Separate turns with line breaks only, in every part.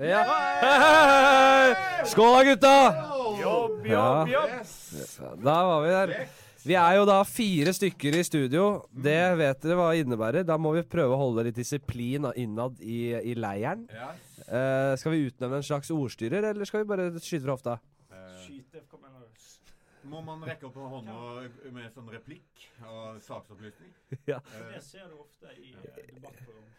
Ja. Hei! Skål da, gutta!
Jobb,
Ja.
jobb, jobb!
Da var vi der. Vi er jo da fire stykker i studio. Det vet dere hva innebærer. Da må vi prøve å holde litt disiplin innad i, i leiren. Eh, skal vi utnevne en slags ordstyrer, eller skal vi bare skyte fra hofta?
Skyte, kom igjen nå.
Må man rekke opp hånda med sånn replikk og saksopplysning? Eh,
Ja.
Det ser du ofte i eh, debattprogram.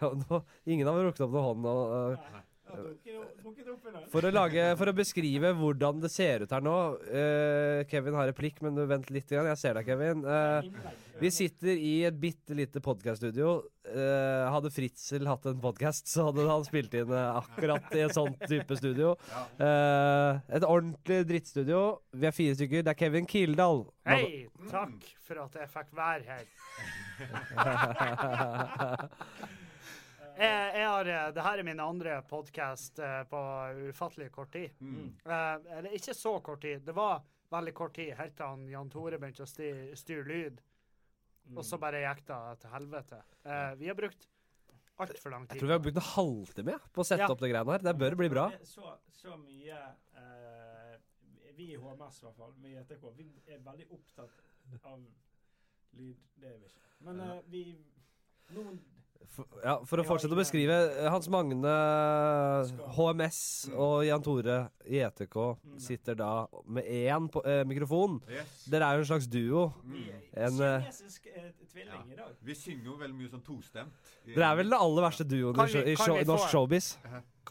Ja, nå, ingen har rukket opp noen hånd. Og, eh,
Jeg har drukket- drukket opp i dag.
for, å lage, for å beskrive hvordan det ser ut her nå eh, Kevin har replikk, men du vent litt. Grann. Jeg ser deg, Kevin. Eh,
Innlegg.
Vi sitter i et bitte lite podkaststudio. Eh, hadde Fritzel hatt en podkast, så hadde han spilt inn eh, akkurat i et sånt type studio. Eh, et ordentlig drittstudio. Vi er fire stykker. Det er Kevin Kildahl.
Hei, takk for at jeg fikk være her. Jeg, jeg har, eh, det her er min andre podkast på ufattelig kort tid.
Mm.
Eh, eller ikke så kort tid. Det var veldig kort tid helt til han Jan Tore begynte å sti- styre lyd.
Mm.
Og
Mm.
så bare gikk det til helvete. Eh, vi har brukt altfor lang tid.
Jeg tror vi har brukt en halvtime ja, på å sette
Ja.
opp det greiene her. Det bør bli bra.
Det er Så, så mye eh, Vi i HMS, i hvert fall, vi i ETK, vi er veldig opptatt av lyd. Det er vi ikke. Men eh, vi Noen
For, ja, for å fortsette å beskrive eh, Hans Magne, HMS og Jan Tore i ETK
Mm.
sitter da med én på, eh, mikrofon.
Yes.
Dere er jo en slags duo.
vi er
En, eh,
kinesisk eh, tvilling i dag.
Vi synger jo veldig mye sånn tostemt.
Dere er vel den aller verste duoen i,
Kan vi-
sho- i
kan
sho-
vi få-
norsk showbiz.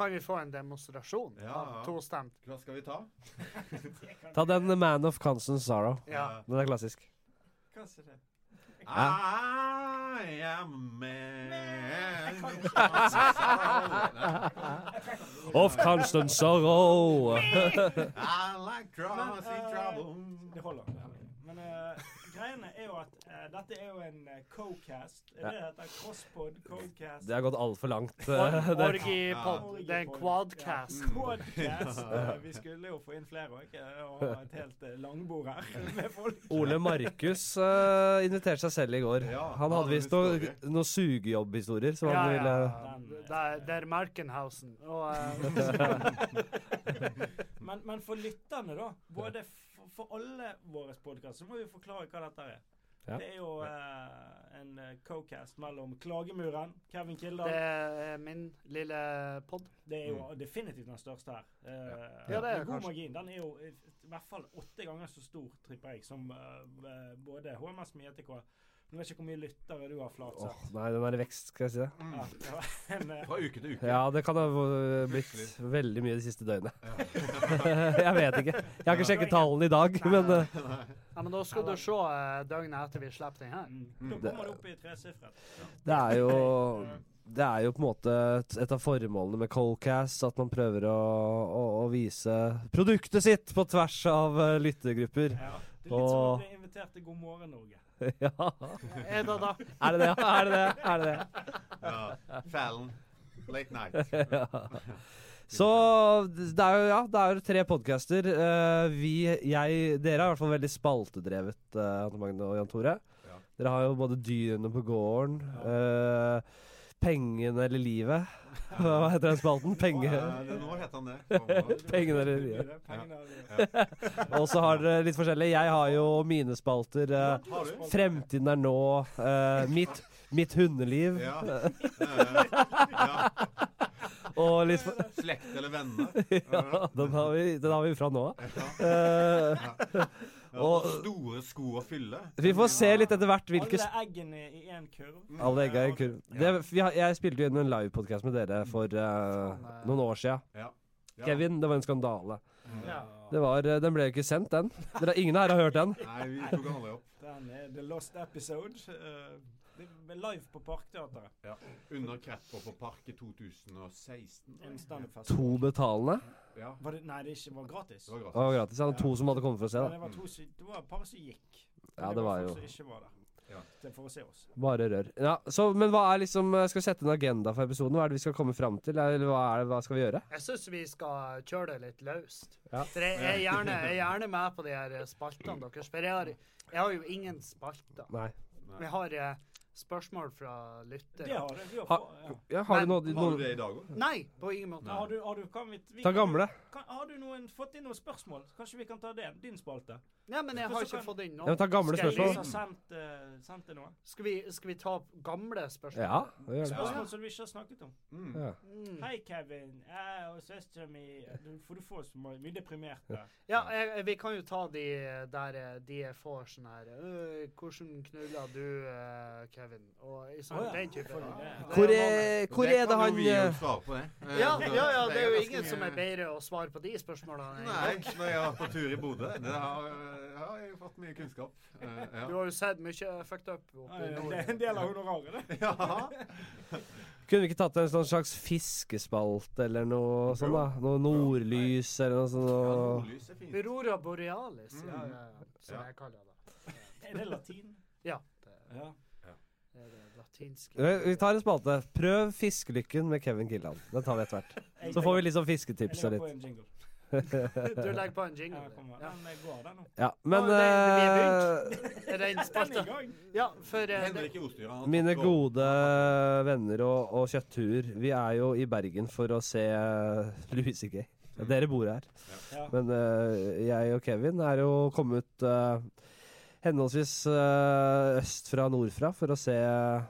Kan vi få en demonstrasjon
Ja, ja.
av tostemt?
Hva skal vi ta?
Ta den Man of Constant Sorrow.
Eh,
Ja.
Den er klassisk.
Hva sier det?
I am a man
Of Constant Sorrow!
I like crossing
Men, eh,
trouble
Det holder. Men eh, greiene er jo at eh, dette er jo en uh, co-cast. Er det det heter crosspod, co-cast?
Det har gått altfor langt.
Or-
Det-
Orgipod. Det er en quadcast.
Ja, quadcast. Eh, Vi skulle jo få inn flere òg, og ha et helt eh, langbord her med folk.
Ole Markus eh, inviterte seg selv i går.
Ja,
Han hadde
han
visst
hadde
noen noe sugejobbhistorier som
Ja,
han
ja.
ville
Der, der Merkenhausen. Og, eh,
Men, men for lytterne, da. Både for, for alle våre podkaster, så må vi forklare hva dette er.
Ja.
Det er jo eh, en eh, co-cast mellom Klagemuren, Kevin
det
Kildahl
er min lille pod.
Det er jo definitivt den største her. Eh,
Ja, det er
med god
kanskje-
margin. Den er jo i i hvert fall åtte ganger så stor, tripper jeg, som eh, både HMS med JTK. Nå vet jeg ikke hvor mye lyttere du har,
Åh,
Flatseth.
Nei, den er i vekst, skal jeg si det.
Ja, det var en, eh,
Fra uke til uke.
Ja, det kan ha eh, blitt veldig mye de siste døgnene. Jeg vet ikke. Jeg har ikke sjekket tallene i dag, men eh,
Ja, men da skal du se eh, døgnet etter vi slipper den her.
Da mm. kommer det opp i tresifret.
Det er jo Det er jo på en måte et- et av formålene med Coldcast, at man prøver å, å, å vise produktet sitt på tvers av eh, lyttergrupper.
Ja. Det er litt som å
Åh.
bli invitert til God morgen, Norge.
Ja.
Er det da?
Er det det? Er det det? Er det det?
Ja. Fallon. Late night.
Så det er jo ja, det er jo tre podcaster. Eh, vi, jeg Dere er i hvert fall veldig spaltedrevet, eh, Hanne Magne og Jan Tore.
Ja.
Dere har jo både dyrene på gården, eh, pengene eller livet. Hva heter den spalten? Penge...
Eh, det- Nå heter han det.
Pengene eller livet.
Pengene eller livet.
Og så har dere litt forskjellig. Jeg har jo mine spalter. eh,
Har du?
Fremtiden er nå. eh, mitt, mitt hundeliv.
Ja. Eh, ja.
Og litt for-
Slekt eller venner.
ja, den, har vi, den har vi fra nå av. Eh,
Ja,
Og-
store sko å fylle.
Vi får se litt etter hvert hvilke
Alle
sp-
eggene i én kurv.
Alle egga i kurv. Det, vi har, jeg spilte jo inn en livepodkast med dere for eh, noen år sia.
Ja. Ja.
Kevin, det var en skandale.
Mm.
Ja.
Det var, eh, den ble jo ikke sendt, den. Dere, ingen her har hørt den.
Nei, vi tok han aldri opp.
Den er The Lost Episode. eh, det er live på Parkteatret.
Ja. Under Krepper på Park i 2016.
En standup-fest.
To betalende.
Ja,
Var det, nei, det ikke var gratis.
det var gratis.
Det var gratis. Han hadde to som hadde kommet for å se. da.
Men det var, to, som- det var et par som gikk. Men
Ja, det var jo-
folk som ikke var der.
Ja.
Det er for å se oss.
Bare rør. Ja, så, men hva er liksom eh, Skal vi sette en agenda for episoden? Hva er det vi skal komme fram til? Eller hva, er det, hva skal vi gjøre?
Jeg syns vi skal kjøre det litt løst.
Ja.
For jeg jeg er gjerne, jeg er gjerne med på de her spaltene deres. For jeg har, jeg har jo ingen spalter.
Nei.
Vi har eh, spørsmål fra
Det
lyttere.
har du. Vi har,
Ha-
få- ja.
Ja, har du noe,
Har du
noen
det i dag òg?
Nei, på ingen måte.
Men Har du, har du, kan vi, vi
Ta
kan-
gamle.
Kan, har du noen, fått inn noen spørsmål? Kanskje vi kan ta det? Din spalte.
Nei, men jeg
Men
har
så
ikke
kan-
fått inn
Ja, men
noe.
ta gamle
Skal jeg
spørsmål.
Lys har sendt, eh, sendt det noe.
Skal vi, skal vi ta opp gamle spørsmål?
Ja, det gjør det.
Spørsmål som vi ikke har snakket om.
Mm.
Ja.
Mm.
Hei, Kevin. Jeg og søstera mi du- For du får så mye, mye deprimerte.
Ja, jeg, jeg- vi kan jo ta de der eh, de jeg får sånn her øh, Hvordan knulla du, eh, Kevin? Og i sånn
Å ja,
den type.
får du det?
Det
Hvor
vanlig.
er, hvor er det
kan jo
han
vi jo
eh,
svare på, det. Eh,
ja,
så
ja, ja, det er jo
ganske
ingen som er
mye-
bedre å svare på de spørsmålene.
Nei,
enn jeg.
når jeg har vært på tur i Bodø. Det har, eh, har jeg fått mye kunnskap. Eh, ja.
Du har jo sett mye fucked up
Ja,
oppi
ja,
nord.
Det er en del av honoraret, det.
ja.
Kunne vi ikke tatt en sånn slags fiskespalt eller noe sånn da? Noe nordlys eller noe sånt?
Ja,
noe-
nordlys er fint.
Aurora borealis, ja,
Mm.
ja, ja, som
Ja.
jeg kaller det.
Er det latin?
Ja, det
Ja.
er det latinske.
Vi vi tar en spalte. Prøv fiskelykken med Kevin Kildahl. Den tar vi etter hvert. Så får vi liksom fisketips og
Jeg legger på
litt.
en jingle.
Du legger på en jingle.
Ja, kommer.
Ja.
Den eh, går, den nå.
Ja, men
Å, det- vi er
eh,
Er det en
Den er i
spalte?
gang.
Ja, for eh, det,
Henrik Ostyra. han har
Mine
tatt over.
gode venner og, og kjøtthuer, vi er jo i Bergen for å se eh, Louis C.K. Ja, Dere bor her.
Ja.
Men eh, jeg og Kevin er jo kommet eh, henholdsvis eh, østfra og nordfra for å se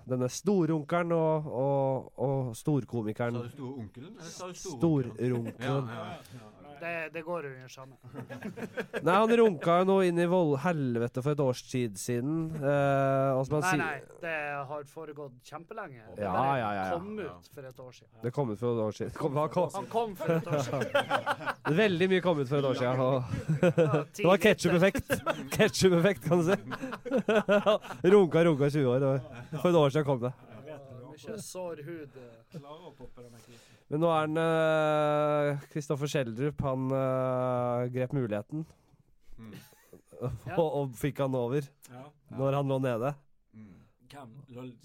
denne storrunkeren og, og, og
Sa
storkomikeren.
du store onkelen? eller sa du store onkelen?
Storrunkeren.
Ja, ja,
det, det går under samme.
Nei, han runka jo noe inn i vold helvete for et års tid siden. eh, og som han
Nei,
sier
nei, det har foregått kjempelenge. Det
Ja,
bare
ja, ja, ja.
kom ut for et år siden.
Det kom ut for et år siden. Kom, hva kom,
Han kom for et år siden.
veldig mye kom ut for et år siden. Og
Det
Det var ketsjup-effekt. Ketsjup-effekt, kan du si. runka, runka i 20 år. og For et år siden kom det.
Jeg vet det. Du
Mye sår hud. eh.
klarer å poppe denne krisen.
Men nå er han øh, Kristoffer Schjelderup. Han øh, grep muligheten.
Mm.
Ja.
og, og fikk han over
Ja.
når han lå nede.
Mm.
Hvem? Lol-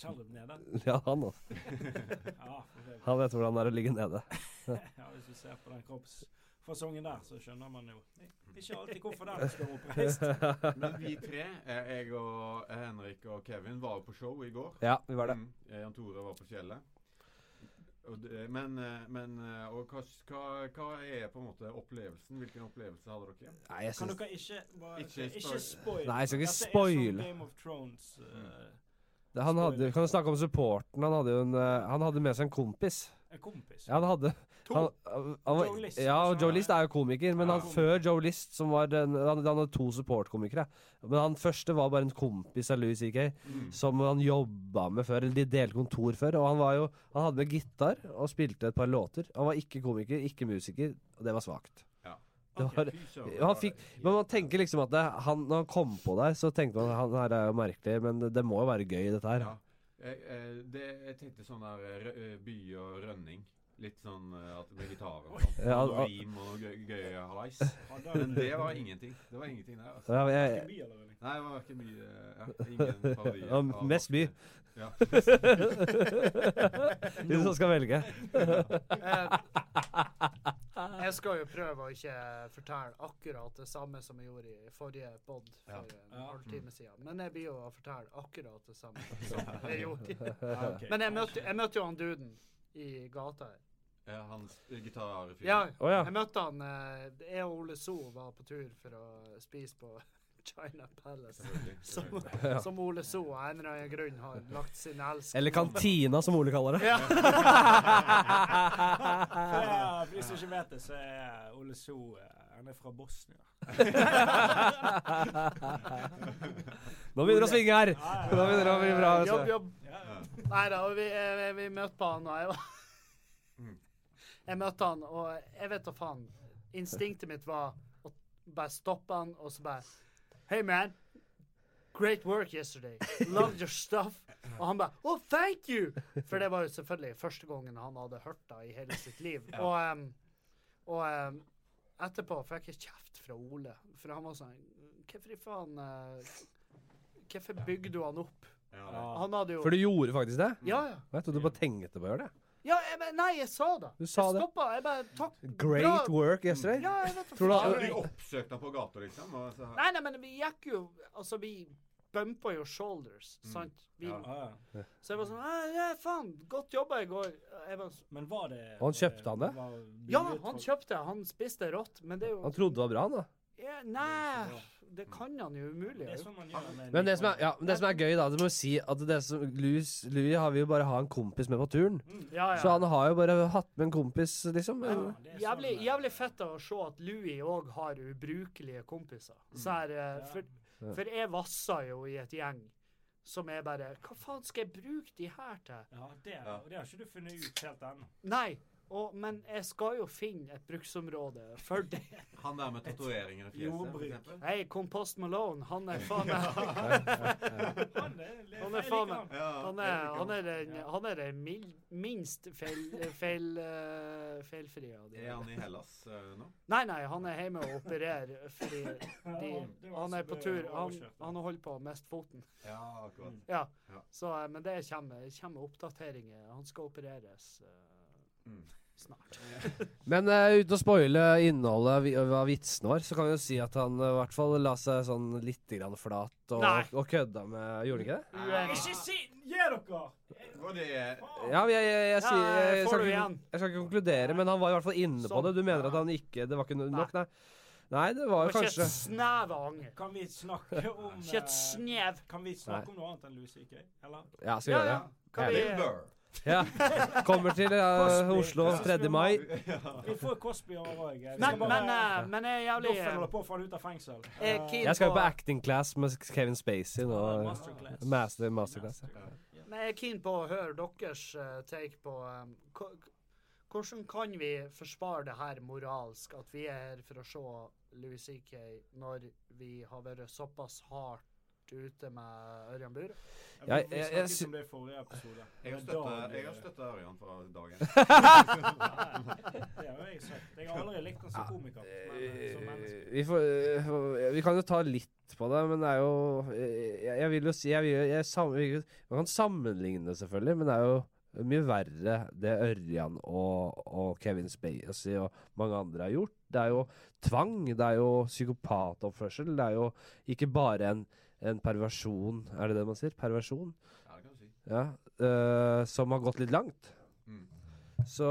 Kjellrup nede?
Ja, han da.
Ja, for det
Han vet hvordan det er å ligge nede.
Ja, hvis du ser på den kroppsfasongen der, så skjønner man jo ikke alltid hvorfor den står oppreist.
Mm. Men vi tre, eh, jeg og Henrik og Kevin, var jo på show i går.
Ja, vi var det.
Mm. Jeg og Jan Tore var på fjellet. Og det, men eh, men eh, og hva, hva, hva er på en måte opplevelsen? Hvilken opplevelse hadde dere?
Nei, jeg
Kan
syns
dere ikke bare,
Ikke
Ikke
spoil-
spoil.
Nei, jeg skal ikke
Dette er
spoil. Mm.
som Game of Thrones. eh,
han hadde, Kan du snakke om supporten? Han hadde jo en øh, Han hadde med seg en kompis.
en kompis.
Ja, han hadde han, han, var-
Joe List.
Ja, og Joe List er jo komiker, men
Ja.
han før Joe List som var den, han, han hadde to supportkomikere. Men han første var bare en kompis av Louis CK,
Mm.
som han jobba med før. Eller de delte kontor før. Og han var jo Han hadde med gitar og spilte et par låter. Han var ikke komiker, ikke musiker, og det var svakt.
Ja.
Det
Ok,
var,
Fy søren,
han
det
fikk,
var-
men man tenker liksom at det, han, når han kom på der, så tenkte man han her er jo merkelig, men det, det må jo være gøy, dette her.
Ja. Jeg, eh, det, jeg tenkte sånn der eh, rø- eh, by og rønning. Litt sånn eh, at det blir gitar og sånn.
Ja,
Noe
al-
rim og noe gøy, gøy hallais.
hadde han
Men det var ingenting. Det var ingenting der, altså.
Ja, jeg,
ikke mye, eller noe?
Nei, det var ikke mye ja, Ingen parodier.
Ja,
av
mest by.
norske- Ja.
hvis man skal velge.
Eh, Jeg skal jo prøve å ikke fortelle akkurat det samme som jeg gjorde i forrige pod for
Ja.
en
Ja.
halvtime siden. Men jeg blir jo å fortelle akkurat det samme som jeg gjorde.
Ja, ok.
Men jeg møtte, jeg møtte jo han duden i gata her.
Ja, Hans eh, gitarfyr.
Ja,
Å ja.
jeg møtte han eh, Jeg og Ole So var på tur for å spise på China Palace. Som, som Ole So av en eller annen grunn har lagt sin elsk
Eller kantina, som Ole kaller det.
Ja.
Ja, for de som ikke vet det, så er Ole So eh, Han er fra Bosnia.
Nå begynner det å svinge her!
Ja,
Nå begynner det å bli bra.
Jobb,
Altså.
jobb.
Ja, ja.
Nei da, og vi, eh, vi møtte på han, og jeg var
Mm.
Jeg møtte han, og jeg vet da faen. Instinktet mitt var å bare stoppe han, og så bare Hey man, great work yesterday. Loved your stuff. Og han bare Oh, thank you! For det var jo selvfølgelig første gangen han hadde hørt det i hele sitt liv. Og, em, og em, etterpå fikk jeg kjeft fra Ole, for han var sånn Hvorfor i faen eh, Hvorfor bygde du han opp?
Ja.
Han hadde jo
For du gjorde faktisk det?
Ja, ja.
Jeg trodde du bare tenkte på å gjøre det.
Ja, jeg, men- nei, jeg sa det.
Du sa det.
Jeg stoppa. Jeg bare takk.
Great
bra.
work yesterday.
Ja, jeg vet da
Tror du
Så
faen.
du oppsøkte han på gata, liksom? Og så,
Nei, nei, men vi gikk jo Altså, vi bumpa jo shoulders,
Mm.
sant? Vi,
Ja.
Ja, ja.
Så jeg var sånn «Nei, nei, faen, godt jobba i går. Jeg var, så-
Men var det eh,
Og han kjøpte han det?
var
ja,
billig,
han
tror-
kjøpte det. Han spiste det rått, men det er jo
Han trodde det var bra, han da.
Ja, Nei, det kan han jo umulig
Det
ha
er
gjort.
sånn man gjør med en
Men det som
Nikon.
er, ja, men det som er gøy, da, det må jo si at det som Louis, Louis har vil jo bare ha en kompis med på turen.
Ja,
Så
ja.
han har jo bare hatt med en kompis, liksom.
Ja, det er sånn,
Jævlig,
eh,
jævlig fett å se at Louis òg har ubrukelige kompiser.
Mm.
Så her, eh, for,
Ja.
for jeg vasser jo i et gjeng som er bare Hva faen skal jeg bruke de her til?
Ja, det,
Ja.
og det har ikke du funnet ut helt ennå.
Nei, og, men jeg skal jo finne et bruksområde for det.
Han der med tatoveringer i fjeset, for
Jordbruk.
eksempel.
Hei, Compost Malone, han er faen meg
Han er, jeg
Han er
liker
faen
han.
meg
Ja,
Han
det
er,
liker
han er, den,
Ja.
han er den mil- minst feil, feil, eh, feilfrie av de.
Er han i Hellas eh, nå?
Nei, nei, han er hjemme og opererer fordi de,
Ja, det var
han er
så
på
det
tur.
var
Han,
overkjørt, da.
han holder på å miste foten.
Ja, akkurat.
Ja.
Ja.
Så, eh, men det kommer, kommer oppdateringer. Han skal opereres eh,
Mm.
snart.
Men eh, uten å spoile innholdet vi- av vitsen vår, så kan vi jo si at han eh, i hvert fall la seg sånn litt grann flat og,
Nei.
og kødda med Gjorde han ikke det?
Uenig.
Ikke si Gi dere!
Og det er
Faen.
Ja, men jeg, jeg, jeg,
Ja,
sier- jeg, jeg,
får
skal
du
ikke,
igjen.
jeg skal ikke konkludere, men han var i hvert fall inne på
Sånn.
det. Du mener at han ikke Det var ikke no-
Nei.
nok, nei? Nei, det var
Det
jo
var ikke
kanskje
et snev av anger.
Kan vi snakke om
Ikke et
eh,
snev.
Kan vi snakke om noe annet enn lusesyke? Eller?
Ja, skal vi
Ja,
gjøre
ja.
det?
Kan vi,
Bill Burr.
Ja. Kommer til eh,
Cosby.
Oslo
Ja.
3. mai.
Vi får Cosby over òg.
men, men, eh, men jeg er jævlig
Doffen holder på å få han ut av fengsel.
Jeg er
Eh,
keen
Jeg skal jo på
på-
acting class med Kevin Spacey nå.
Masterclass.
Master, masterclass. ja.
Men jeg er keen på å høre deres eh, take på um, ko- hvordan kan vi forsvare det her moralsk, at vi er her for å se Louis C.K. når vi har vært såpass hardt ute med Ørjan Bure?
Jeg-
vi
jeg- jeg
snakket
sy-
om det i forrige episode.
Jeg har
Men da
støttet-
blir-
jeg har støtta Ørjan fra dagen.
Det har jo jeg sagt. Jeg har aldri likt han som komiker. Men eh, som menneske.
Vi, får, eh, vi kan jo ta litt på det, men det er jo eh, Jeg, jeg vil jo si jeg vil, jeg sam, vi- Man kan sammenligne, selvfølgelig, men det er jo mye verre det Ørjan og, og Kevin Spacey og mange andre har gjort. Det er jo tvang, det er jo psykopatoppførsel. Det er jo ikke bare en, en perversjon, er det det man sier? Perversjon?
Ja, det kan du si.
Ja. eh, som har gått litt langt.
Mm.
Så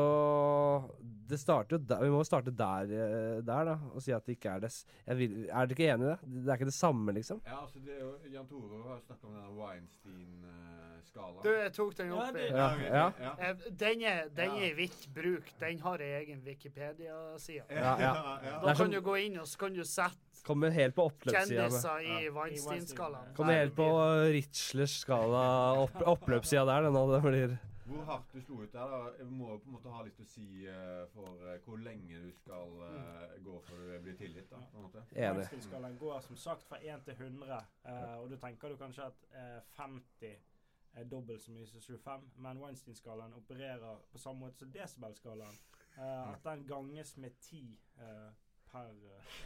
det starter jo der, vi må jo starte der, eh, der da, og si at det ikke er det s- jeg vil, Er dere ikke enig i det? Det er ikke det samme, liksom?
Ja, altså det er jo, Jan Tore har snakket om denne Weinstein-skalaen.
Du, jeg tok den opp. i-
Ja, ja.
Eh, Den er, den
Ja.
er i vidt bruk. Den har jeg egen Wikipedia-side.
Ja, ja. Det
Da
er som-
kan du gå inn og så kan du sette
Kommer helt på oppløpssida. med-
kjendiser i
Ja.
Weinstein-skalaen.
Kommer helt på Ritzlers skala, opp, oppløpssida der. Den, og det blir
Hvor hardt du slo ut der, da. Jeg må jo på en måte ha litt å si eh, for eh, hvor lenge du skal eh, gå før du blir tilgitt, da. På en måte.
enig.
Weinstein-skalaen går som sagt fra 1 til 100, eh, og du tenker du kanskje at eh, 50 er dobbelt så mye som 25, men Weinstein-skalaen opererer på samme måte som Decibel-skalaen. eh, at den ganges med 10 eh, per,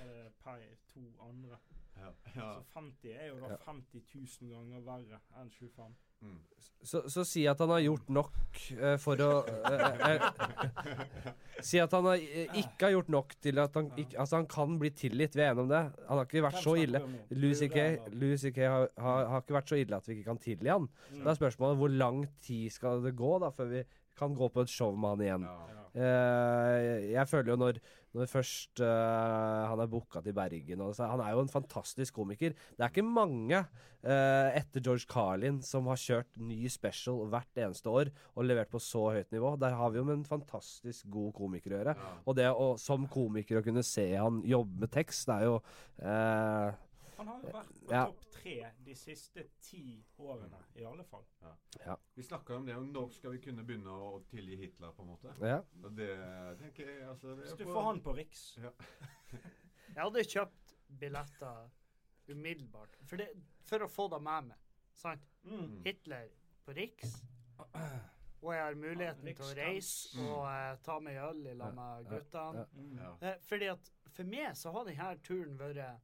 eh, per to andre.
Ja. Ja.
Så 50 er jo da 50 000 ganger verre enn 25.
Mm.
Så, så si at han har gjort nok eh, for å eh, eh, Si at han har, eh, ikke har gjort nok til at han ikke Altså, han kan bli tilgitt, vi er enige om det. Han har ikke vært
Hvem
så
snakker
ille.
vi om nå?
Louis
Det er jo
C.K.
det, da.
Louis CK har, har, har ikke vært så ille at vi ikke kan tilgi han. Da er spørsmålet hvor lang tid skal det gå da før vi kan gå på et show med han igjen.
Ja.
Ja.
Eh, jeg føler jo når, når først eh, han er booka til Bergen og så, Han er jo en fantastisk komiker. Det er ikke mange eh, etter George Carlin som har kjørt ny special hvert eneste år og levert på så høyt nivå. Der har vi jo med en fantastisk god komiker å gjøre.
Ja.
Og det å som komiker å kunne se han jobbe med tekst, det er jo eh,
Han har jo vært på
Ja.
topp tre de siste ti årene, i alle fall.
Vi snakka om det, og når skal vi kunne begynne å å tilgi Hitler, på en måte?
ja.
Og det tenker jeg altså det
Så
er
du
på-
får han på Riks.
Jeg hadde kjøpt billetter umiddelbart. For, det, for å få det med meg. Sant?
Mm.
Hitler på Riks. Og jeg har muligheten til å reise og eh, ta meg øl i lag med guttene.
Mm.
Ja.
Eh, fordi at for meg så har denne turen vært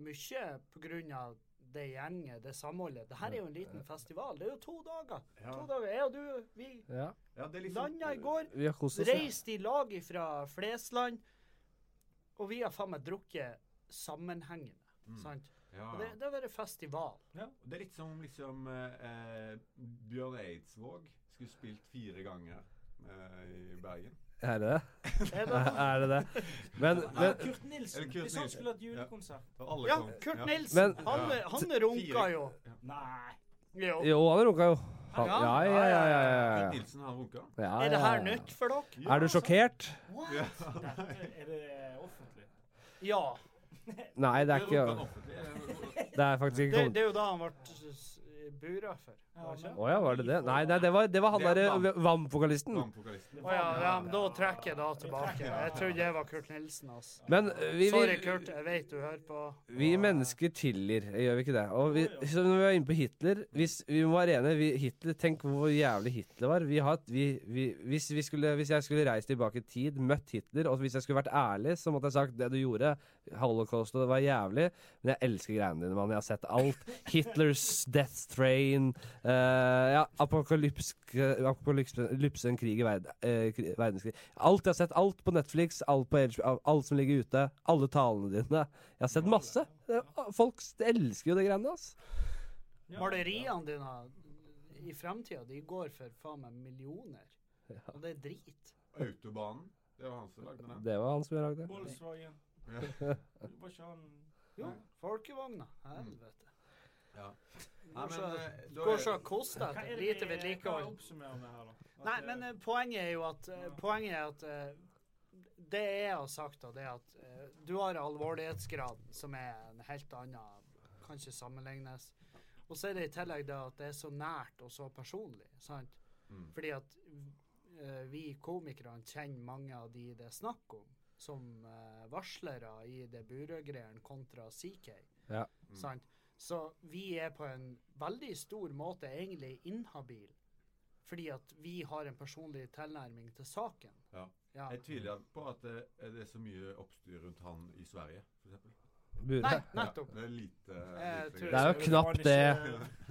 mye på grunn av det gjenget, det samholdet. Dette er jo en liten festival. Det er jo to dager.
Ja. eh,
To dager. Jeg og du, vi
ja.
ja, det er liksom-
landa i går.
Vi har kost oss. ja.
Reist i lag fra Flesland, og vi har faen meg drukket sammenhengende. Sant?
Mm. Ja.
Og Det, det har vært festival.
Ja.
Det er litt som om liksom eh, eh, Bjørn Eidsvåg skulle spilt fire ganger eh, i Bergen.
Er det det?
Er det?
Er det det? Men,
Nei,
men
Kurt Nilsen.
Eller Kurt
Hvis han
Nilsen.
skulle hatt julekonsert.
Og alle
Ja,
kom.
Kurt
Ja.
Nilsen.
Men-
Han,
Ja.
han runka
Fire-
jo.
Nei.
jo.
Jo, han runka jo. Han,
Ja,
ja, ja, ja, ja,
Kurt
ja,
Nilsen, han runka?
ja, ja.
Er det her nytt for dere?
Er du sjokkert?
Ja.
Dette, er det offentlig?
Ja.
Nei, det er
runka han
ikke
offentlig. Eh,
Det er faktisk
Det,
ikke
det er jo da han ble s- bura for.
Ja, men-
Å ja, var det det? Nei, nei det, var, det var han eh,
Det er
derre
og-
VAM-vokalisten.
Vannvokalisten.
Å ja, ja, men da trekker jeg da tilbake. Jeg tror det var Kurt Nilsen, altså.
Men eh, vi,
Sorry,
vi,
Kurt. Jeg vet du hører på.
vi mennesker tilgir, gjør vi ikke det? Og vi, så når vi er inne på Hitler hvis, Vi må være enige. Vi, Hitler, tenk hvor jævlig Hitler var. Vi har, et- vi, vi, hvis, vi skulle, hvis jeg skulle reist tilbake i tid, møtt Hitler, og hvis jeg skulle vært ærlig, så måtte jeg sagt det du gjorde, holocaust, og det var jævlig, men jeg elsker greiene dine, mann. Jeg har sett alt. Hitlers Death Train, eh, ja, eh, apokalypse- apokalypse en krig i verd, eh, kri- verdenskrig. Alt jeg har sett. Alt på Netflix, alt på HBO, alt som ligger ute. Alle talene dine. Jeg har sett masse. Det- Folk elsker jo de greiene, ass.
Maleriene dine i fremtida, de går for faen meg millioner. Og det er drit.
Autobanen. Det var han som lagde den.
Det var han som lagde det.
Volkswagen.
Ja.
Var ikke han
Jo, folkevogna. Helvete.
Ja. Nei,
Går
men,
så-
eh, da
Går
er-
så
Hva
kosta
er
etter.
det
Lite
vi- Hva
vedlikehold.
oppsummerer vi her, da? At,
Nei,
eh,
men eh, poenget er jo at eh, Poenget er at eh, Det jeg har sagt, da, det er at eh, du har alvorlighetsgraden, som er en helt annen Kan ikke sammenlignes. Og så er det i tillegg det at det er så nært og så personlig. sant?
Mm.
Fordi at eh, vi komikerne kjenner mange av de det er snakk om, som eh, varslere i det Burøe-greiene kontra CK.
Ja.
Mm.
Sant? Så vi er på en veldig stor måte egentlig inhabil, fordi at vi har en personlig tilnærming til saken.
Ja.
Ja.
Jeg tviler på at det, det er så mye oppstyr rundt han i Sverige, for eksempel.
Nei,
Bure.
Ja,
nettopp.
det er lite,
Jeg
lite
tror-
Det er jo knapt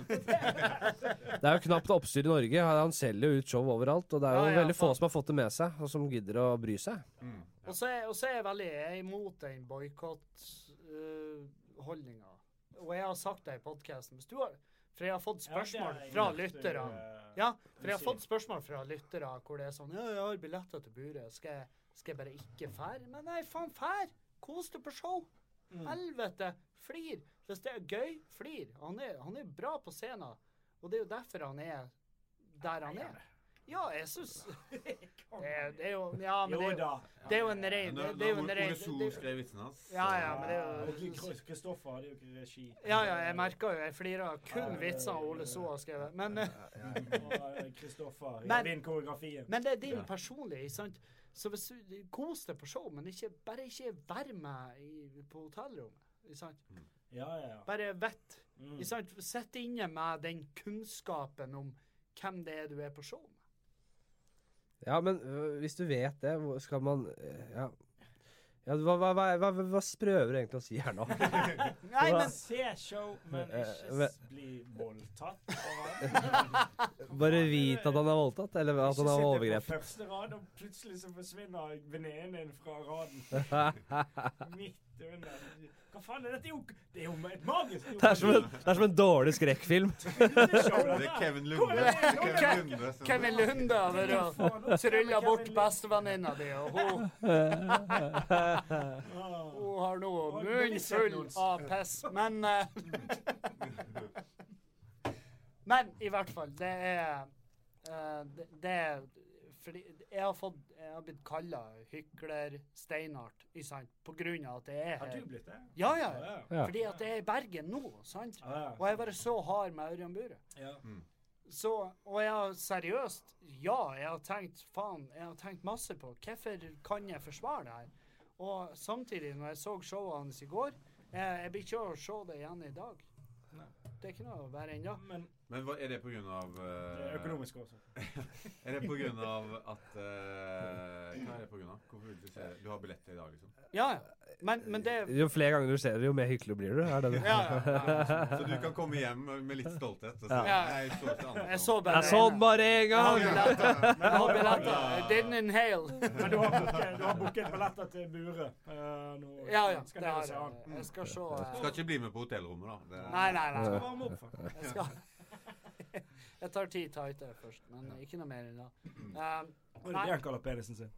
det Det er jo knapt oppstyr i Norge. Han selger jo ut show overalt, og det er jo
Ja, ja,
veldig få
faen.
som har fått det med seg, og som gidder å bry seg.
Mm.
Og så er, og så er jeg veldig jeg er imot den boikott-holdninga. og jeg har sagt det i podkasten. For jeg har fått
ja, det er
spørsmål
egentlig
fra
at du,
lytterne.
eh,
Ja, for jeg har
sier.
fått spørsmål fra lyttere hvor det er sånn Ja, jeg har billetter til buret. Skal jeg, skal jeg bare ikke fær? Men nei, faen, fær! Kos deg på show! Mm. Helvete! Flir! Hvis det er gøy, flir. Han er, han er bra på scenen. Og det er jo derfor han er der han er. Ja, jeg syns det, er- det er jo Ja, men det
Jo
er jo,
da.
det er jo en rein
Når,
det- Det
når
er jo en
Ole
rein
So
det- det-
skrev vitsen hans
Ja, ja, men det er
Ja,
jo-
og Kri- Kristoffer hadde jo ikke regi.
Ja, ja, jeg merka jo. Jeg flirer av kun vitser Ole So har skrevet. Men eh,
Og eh, Kristoffer
Men-
vinner koreografien.
Men det er din
Ja.
personlige, ikke sant? Så hvis du kos deg på show, men ikke, bare ikke vær med i, på hotellrommet. Ikke sant?
Ja, ja, ja.
Bare vett.
Mm.
Ikke sant? Sitt inne med den kunnskapen om hvem det er du er på show med.
Ja, men øh, hvis du vet det, hvor skal man øh, Ja, ja hva, hva, hva, hva, hva prøver du egentlig å si her nå?
Nei, men
Se show, men
Eh,
ikke
men-
s- bli voldtatt. av han.
Bare vit at han er voldtatt, eller at han har
Ikke sitte
overgrep.
på første rad, og plutselig så forsvinner venninnen din fra raden. Midt under. Hva faen er dette? Det er jo- Det er jo et magisk
Det er som en, det er som en dårlig skrekkfilm.
show.
Det er Kevin Lunde. Kevin Lunde som-
Kevin Lunde over og trylla bort bestevenninna di, og hun,
Ah.
Oh.
hun har nå munnen full av piss. Men eh, Men i hvert fall, det er eh, det, det er fordi jeg har fått Jeg har blitt kalla hykler, steinart, ikke sant, på grunn av at jeg er
Har
her.
du blitt det?
Ja, ja.
Ja.
Fordi at jeg er i Bergen nå, sant?
Ja,
Og jeg er bare så hard med Ørjan Bure.
ja.
Så, og jeg har seriøst Ja, jeg har tenkt faen, jeg har tenkt masse på hvorfor kan jeg forsvare det her? Og samtidig, når jeg så showet hans i går Jeg, jeg blir ikke å se det igjen i dag.
Nei.
Det er ikke noe verre ennå.
Men
Men hva, er det på grunn av
det er
eh,
økonomisk også.
Er det på grunn av at eh, Hva er det på grunn av? Hvorfor vil du ikke se det? Du har billett til i dag, liksom?
Ja, ja. Men, men det
Jo flere ganger du ser det, jo mer hyggelig blir det. Er det det?
Ja, ja.
Så du kan komme hjem med litt stolthet. Og si,
Ja.
Jeg så ikke andre
Jeg
som-
så bare
Jeg så den sånn bare én
Jeg har
gang!
billetter. Jeg har billetter. I
Ja.
didn't inhale.
Men du har booket- du har booket billetter til Bure. eh, nå
Ja, ja.
skal
Det
dere
har
se han.
jeg. Jeg skal se
Skal
eh,
ikke bli med på hotellrommet, da. Det-
Nei, nei,
Jeg skal
nei.
varme opp, faktisk.
Jeg skal Jeg tar ti tighter først, men ikke noe mer i dag. Um,
Og det er
Nei.
det han kaller penisen sin.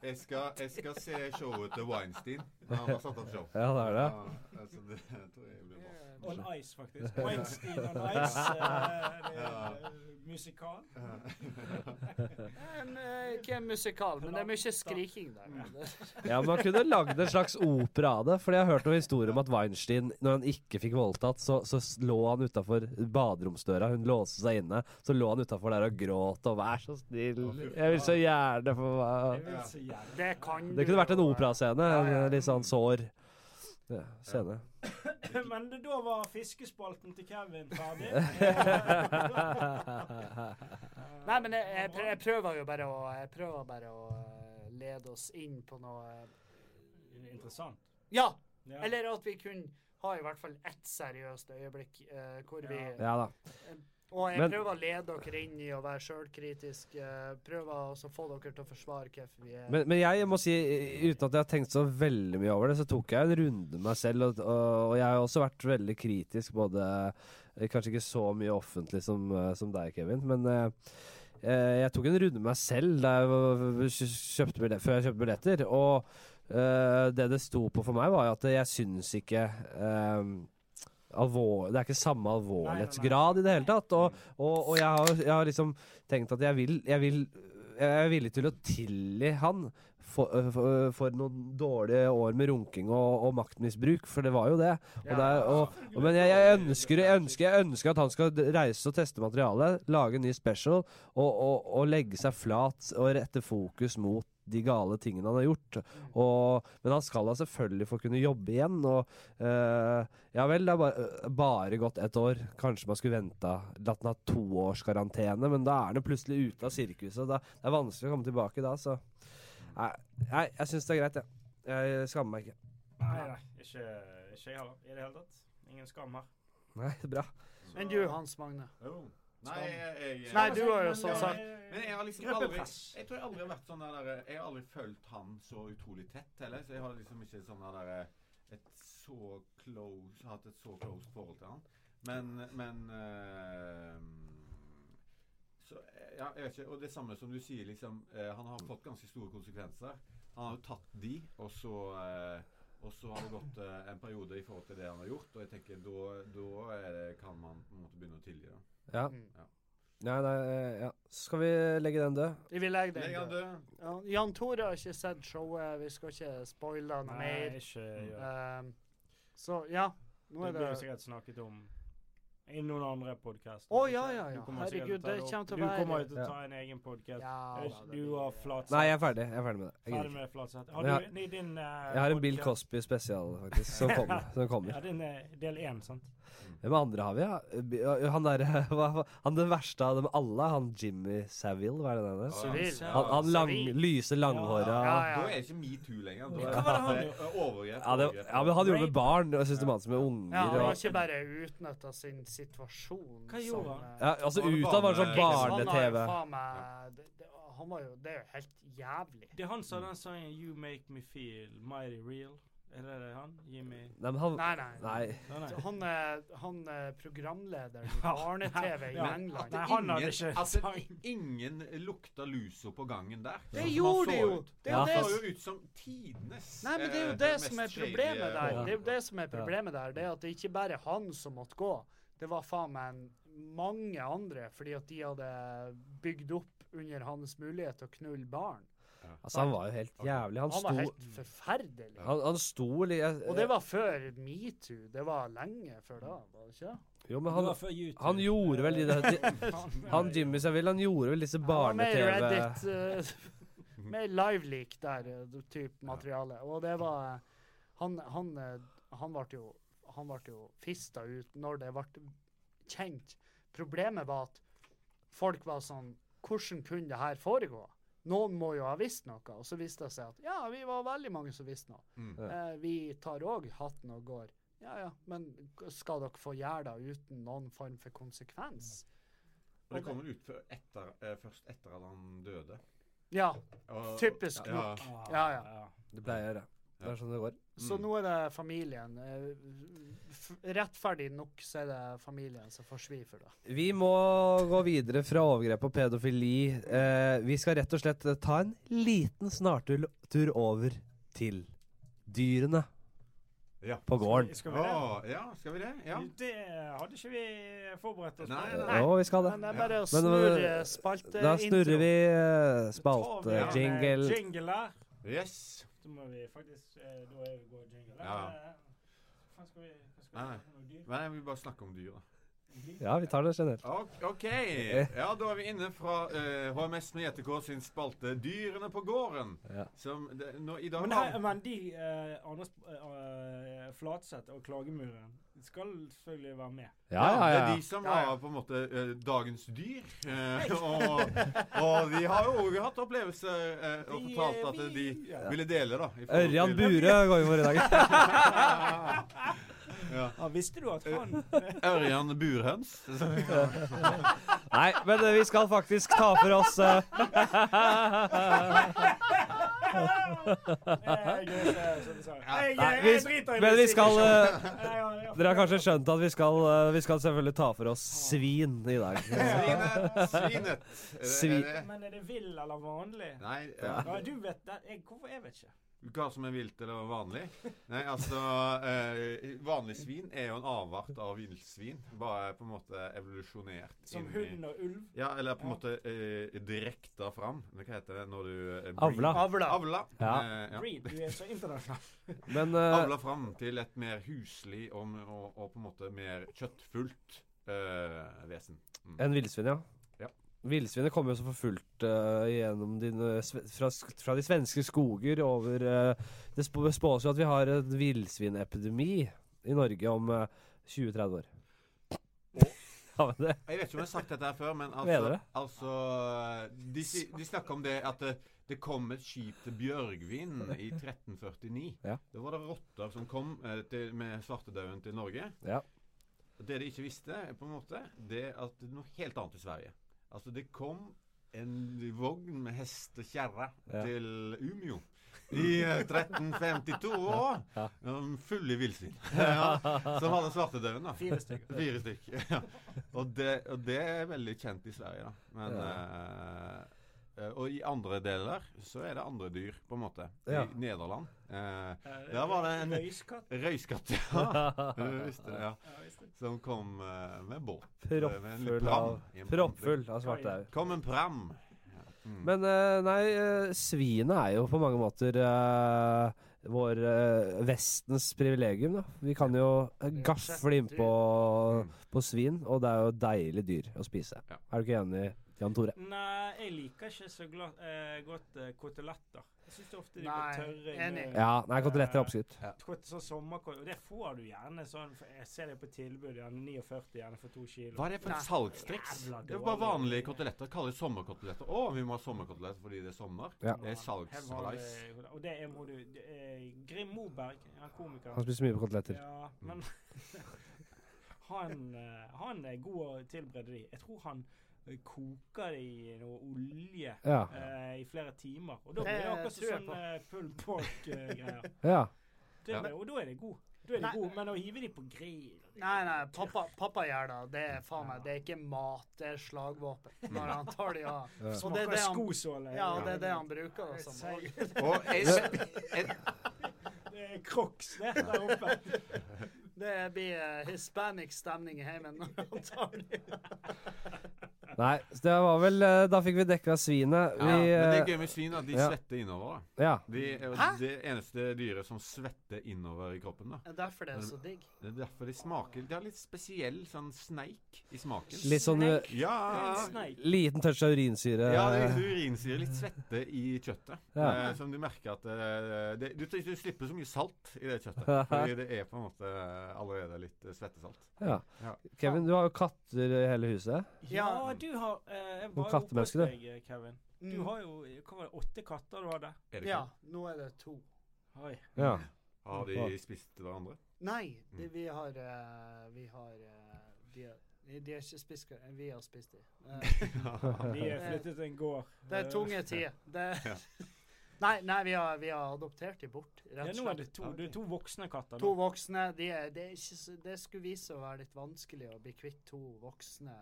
Jeg skal, jeg skal se showet til Weinstein. Han har satt opp show.
Ja, det er det.
Ja, altså, det tror jeg blir bra.
On Ice, faktisk. Weinstein on Ice. eh, det
Ja.
er, eh, musikal.
en, eh, ikke en musikal, men det er mye skriking der.
Mm. Ja, Man kunne lagd en slags opera av det. Fordi jeg har hørt noen historier om at Weinstein, når han ikke fikk voldtatt, så, så s- lå han utafor baderomsdøra. Hun låste seg inne. Så lå han utafor der og gråt og 'vær så snill, jeg vil så gjerne få
Jeg
være
vil si gjerne.
Det kan
Det kunne vært en altså.
jo, eh,
operascene.
ja.
En litt sånn sår ja, scene.
Men det, da var fiskespalten til Kevin ferdig. Eh,
Nei, men jeg, jeg, prø- jeg prøver jo bare å Jeg prøver bare å eh, lede oss inn på noe eh,
Interessant.
Ja!
Ja.
Eller at vi kunne ha i hvert fall ett seriøst øyeblikk eh, hvor vi
Ja da.
Og jeg
Men-
prøver å lede dere inn i å være sjølkritisk. eh, prøver også å få dere til å forsvare hvorfor vi er
Men, men jeg må si, uten at jeg har tenkt så veldig mye over det, så tok jeg en runde med meg selv. Og, og, og jeg har også vært veldig kritisk, både eh, Kanskje ikke så mye offentlig som, eh, som deg, Kevin, men eh, eh, jeg tok en runde med meg selv da jeg var- kjøpte billett, før jeg kjøpte billetter. Og eh, det det sto på for meg, var jo at jeg syns ikke eh, alvor, Det er ikke samme alvorlighetsgrad i det hele tatt. Og, og, og jeg, har, jeg har liksom tenkt at jeg vil Jeg, vil, jeg er villig til å tilgi han for, for, for noen dårlige år med runking og, og maktmisbruk, for det var jo det. Og det er, og, og, men jeg, jeg, ønsker, jeg, ønsker, jeg ønsker at han skal d- reise og teste materialet, lage en ny special og, og, og legge seg flat og rette fokus mot de gale tingene han har gjort. Og, men han skal da selvfølgelig få kunne jobbe igjen. Og, eh, ja vel, det har bare, eh, bare gått ett år. Kanskje man skulle venta latt den ha to års karantene, men da er den plutselig ute av sirkuset. Da, det er vanskelig å komme tilbake da, så Nei, nei, jeg syns det er greit, jeg. Jeg skammer meg ikke.
Nei, nei. Ikke, ikke jeg heller, i det hele tatt. Ingen skam her.
Nei, bra.
Men du, Hans Magne.
Jo. Nei, jeg, jeg
Nei, du har jo som
Men,
sagt
eh,
Men jeg har liksom aldri
Gruppepress.
Jeg tror jeg aldri har vært sånn der Jeg har aldri følt han så utrolig tett heller, så jeg har liksom ikke sånn der Et så close Hatt et så close forhold til han. Men Men eh, Så eh, Ja, jeg vet ikke. Og det samme som du sier, liksom eh, Han har fått ganske store konsekvenser. Han har jo tatt de, og så eh, og så har det gått eh, en periode i forhold til det han har gjort, og jeg tenker da, da er det, kan man på en måte begynne å tilgi. da.
Ja.
mm.
Ja.
Nei, nei, eh, ja. Skal vi legge den død?
Vi vil legge
Legg
den
han
død.
død.
Ja, Jan Tore har ikke sett showet. Vi skal ikke spoile
Nei,
noe mer.
ikke gjør det.
Ehm, så ja, nå
Det
er det
blir jo sikkert snakket om i noen andre podkaster.
Å, ja, ja, ja. Herregud, det kommer til å være
Du kommer jo til
Ja.
å ta en egen podkast.
Ja, da,
du
det blir-
har flatsett.
Nei, jeg er ferdig. Jeg er ferdig med det. Jeg,
Ferdig
gidder ikke.
med flatsett. Har
Ja.
du i din eh,
jeg har en Bill
podcast-
Cosby spesial, faktisk, som kommer. Som kommer.
Ja, din er del én, sant?
Hvem andre har vi? Ja? Bi- ja, Han der, hva- hva- han den verste av dem alle, han Jimmy Savile, hva er det den heter?
Civil.
Ja.
Han, han lang,
Savile.
lyse, langhåra
Ja, ja.
Da er ikke metoo lenger. Da
Hva var det han
er det overgrep.
ja, det,
overgrep.
ja, men han gjorde det med barn, og systematisk med unger.
Ja, han har
og,
ikke bare utnytta sin situasjon
Hva gjorde
som,
han?
eh,
ja, altså
Han var
utad var det sånn
barne-
han har jo
barne-TV.
faen meg- det- det- Han var jo Det er jo helt jævlig.
Det er han sa den sangen 'You Make Me Feel Mighty Real'. Er det det han? Jimmy
Nei, men han
Nei, nei.
Nei.
Nei, nei.
Så Han er, han er programleder i barne-TV i
Ja.
England.
Nei, han hadde
Ingen-
ikke
altså,
sang.
ingen lukta lusa på gangen der.
Det
Han
gjorde de
så
jo!
ut-
Det er jo
Ja.
det
Han så
som
jo ut som tidenes
Nei, men det er jo
eh,
det
mest
som er
shady, eh,
problemet der. Det er jo det som er
Ja.
problemet der. Det er at det ikke bare er han som måtte gå. Det var faen meg en- mange andre, fordi at de hadde bygd opp under hans mulighet til å knulle barn.
Altså, han var jo helt jævlig. Han
Han var
sto
helt forferdelig.
Han, han sto li- jeg-
Og det var før metoo. Det var lenge før da, var det ikke?
Jo, men
Det
han,
var før YouTube.
han gjorde vel de der
Faen,
Han Jimmy Savile, han gjorde vel disse
Med
barne-TV
Reddit, eh, med liveleak der, eh, typ materiale. Og det var eh, Han, han, eh, han ble jo Han ble jo fista ut når det ble kjent. Problemet var at folk var sånn Hvordan kunne det her foregå? Noen må jo ha visst noe, og så viste det seg at ja, vi var veldig mange som visste noe.
Mm.
Ja.
Eh, vi tar òg hatten og går. Ja ja, men skal dere få gjøre det uten noen form for konsekvens?
Og det kom vel ut før- etter, eh, først etter at han døde.
Ja,
Og-
typisk
ja,
nok.
Ah,
Ja, ja.
Det pleier jeg å gjøre. Det er sånn det går.
Så
Mm.
nå er det familien. eh, f- Rettferdig nok så er det familien som får svi for det.
Vi må gå videre fra overgrep og pedofili. Eh, vi skal rett og slett eh, ta en liten snartur tur over til dyrene
Ja.
på gården.
Skal vi det?
Å, ja, skal vi det? Ja.
Det hadde ikke vi forberedt oss
Nei,
på.
nei.
Jo, vi skal det.
Men det er bare å
Men,
snurre
eh,
spalte
Da snurrer vi eh,
Da tar vi en, eh,
spalte-jingle.
Jingle der.
Yes.
Så må vi faktisk eh, Da er vi går jingle. der.
Ja.
Eh, Hva skal vi hva skal
Nei.
vi snakke om? Dyr?
Nei, jeg vil bare snakke om dyra.
Dyr?
Ja, vi tar det generelt.
Ok, ok. Ja, da er vi inne fra eh, HMS med JTK sin spalte 'Dyrene på gården'.
Ja.
Som det, nå, i dag
Men, her, men de eh, Anders eh, eh, Flatseth og Klagemuren skal selvfølgelig være med.
Ja, ja,
Det
ja.
er de som
Ja, ja.
var på en måte eh, dagens dyr. eh, og, og de har jo også hatt opplevelser eh, og
Vi,
fortalt
eh,
at de
vi- ja.
ville dele, da. i forhold
Ørjan
til-
Bure går vi for i dag.
ja.
Ja, visste du at
Eh.
han Eh,
Ørjan Burhøns.
Nei, men eh, vi skal faktisk ta for oss eh,
Jeg er ikke sånn sa. Jeg,
Nei,
jeg,
vi-
jeg driter i
Men vi
musikk.
skal eh,
Jeg har- jeg
Dere har kanskje skjønt at vi skal, eh, vi skal selvfølgelig ta for oss svin i dag.
Svinet. Svinet. Er det-
Svi-
er det-
Men er det vill eller vanlig?
Nei, ja.
Ja, du vet det. Jeg, hvorfor? Jeg vet ikke.
Hva som er vilt eller vanlig? Nei, altså eh, Vanlig svin er jo en avart av villsvin. Bare på en måte evolusjonert.
Som
inn i-
hund og ulv.
Ja, eller på en
Ja.
måte eh, direkta fram. Men Hva heter det når du eh, breed-
Avla.
Avla.
Avla.
Ja.
Eh, ja.
Breed. Du er så internasjonal.
Men eh,
Avla fram til et mer huslig og, og, og på en måte mer kjøttfullt eh, vesen.
En villsvin, ja.
Ja.
Villsvinet kom jo så for fullt eh, gjennom dine, sve- fra, sk- fra de svenske skoger over eh, Det sp spås jo at vi har en villsvinepidemi i Norge om eh, 20-30 år. Ja, men det
Jeg vet ikke om jeg har sagt dette her før, men
Mener
altså,
det?
altså de, si- de snakker om det at det, det kom et skip til Bjørgvin i 1349.
Ja.
Da var det rotter som kom eh, til, med svartedauden til Norge.
Ja.
Og Det de ikke visste, er på en måte, det er at det er noe helt annet i Sverige. Altså, det kom en vogn med hest og kjerre
Ja.
til Umeå. I eh, 1352 år.
Ja.
Um, Fulle villsvin. ja, som hadde svartedauden, da.
Fire stykker.
Fire stykk. Ja. Og, det, og det er veldig kjent i Sverige, da. Men, eh, eh, og i andre deler så er det andre dyr, på en måte.
Ja.
I Nederland. eh,
Eh,
Der var det en-
Røyskatt.
Røyskatt, ja. Du visste det, ja.
Ja, visst det.
Som kom eh, med båt. Eh, med en
proppfull
pram.
av
I en pram.
Proppfull av svartau.
Kom en pram. Ja. Mm.
Men eh, nei, eh, svinet er jo på mange måter eh, vår eh, Vestens privilegium, da. Vi kan jo eh, gafle innpå
Mm.
på svin, og det er jo deilig dyr å spise.
Ja.
Er du ikke enig, Jan Tore?
Nei, jeg liker ikke så gla- eh, godt eh, koteletter. Jeg syns ofte de
Nei,
går tørre. i
enig.
munnen.
Ja, nei, koteletter er oppskrytt.
Kot- Sånn sommerkot- Og det får du gjerne sånn for Jeg ser det på tilbud. Gjerne 49 gjerne for to kilo.
Hva er det for
Nei.
et salgstriks?
Jævla
Det er bare
dårlig.
vanlige koteletter. Kaller det sommerkoteletter. Å, vi må ha sommerkoteletter fordi det er sommer.
Ja.
Det er salgshalais.
Her var det- Og det er må du det er Grim Moberg, ja,
Han
komiker.
spiser Mm. mye på koteletter.
Ja, men han, eh, han er god å tilberede de. Jeg tror han eh, koker det i noe olje
Ja.
eh, i flere timer. Og da
Det
blir det akkurat
tror jeg
sånn eh, pulled eh, pork-greier.
ja.
Det
Ja.
er- Og da er det god. Da er det
Nei.
god, men å hive de på grill
Nei, nei, pappa, pappa gjør det. Det er faen meg, det er ikke mat, det er slagvåpen. Når han tar de av.
Ja.
Og det er
Smaker
det han,
skosåle.
ja, og det er det han bruker det som.
Sier-
Og jeg, jeg,
Det er Crocs, det, der oppe.
Det blir eh, hispanic stemning i heimen når han tar de.
Nei, så det var vel eh, Da fikk vi dekka svinet.
ja,
Vi
men det er
eh,
gøy med svin at de
ja.
svetter innover. da.
Ja.
De er jo
Hæ?
det eneste dyret som svetter innover i kroppen. da.
Det er derfor det er så digg.
Det er derfor de smaker De har litt spesiell sånn sneik i smaken.
Litt sånn eh,
Ja,
En sneik.
liten touch av urinsyre.
ja det er litt urinsyre, litt svette i kjøttet.
Ja.
Eh, som du merker at eh, det, du, du slipper så mye salt i det kjøttet. Fordi det er på en måte allerede litt eh, svettesalt.
Ja.
Ja.
Kevin, du har jo katter i hele huset.
Ja, du har eh, Jeg var jo oppe hos
kattemønster, du.
deg, eh, Kevin. Du
Mm.
har jo hva var det, åtte katter du hadde.
Er det
Ja,
ikke?
nå er det to.
Oi.
Ja.
Har de spist hverandre?
Nei, det,
Mm.
vi har eh, Vi har eh, de, de har ikke spist hva- Vi har spist de. Eh,
De er flyttet til en gård.
det er tunge tider. Det Nei, nei vi, har, vi har adoptert de bort,
Ja,
rett og
nå er
slett.
det to, det er to voksne katter. Nå.
To voksne. De er, det, er ikke, så- det skulle vise seg å være litt vanskelig å bli kvitt to voksne,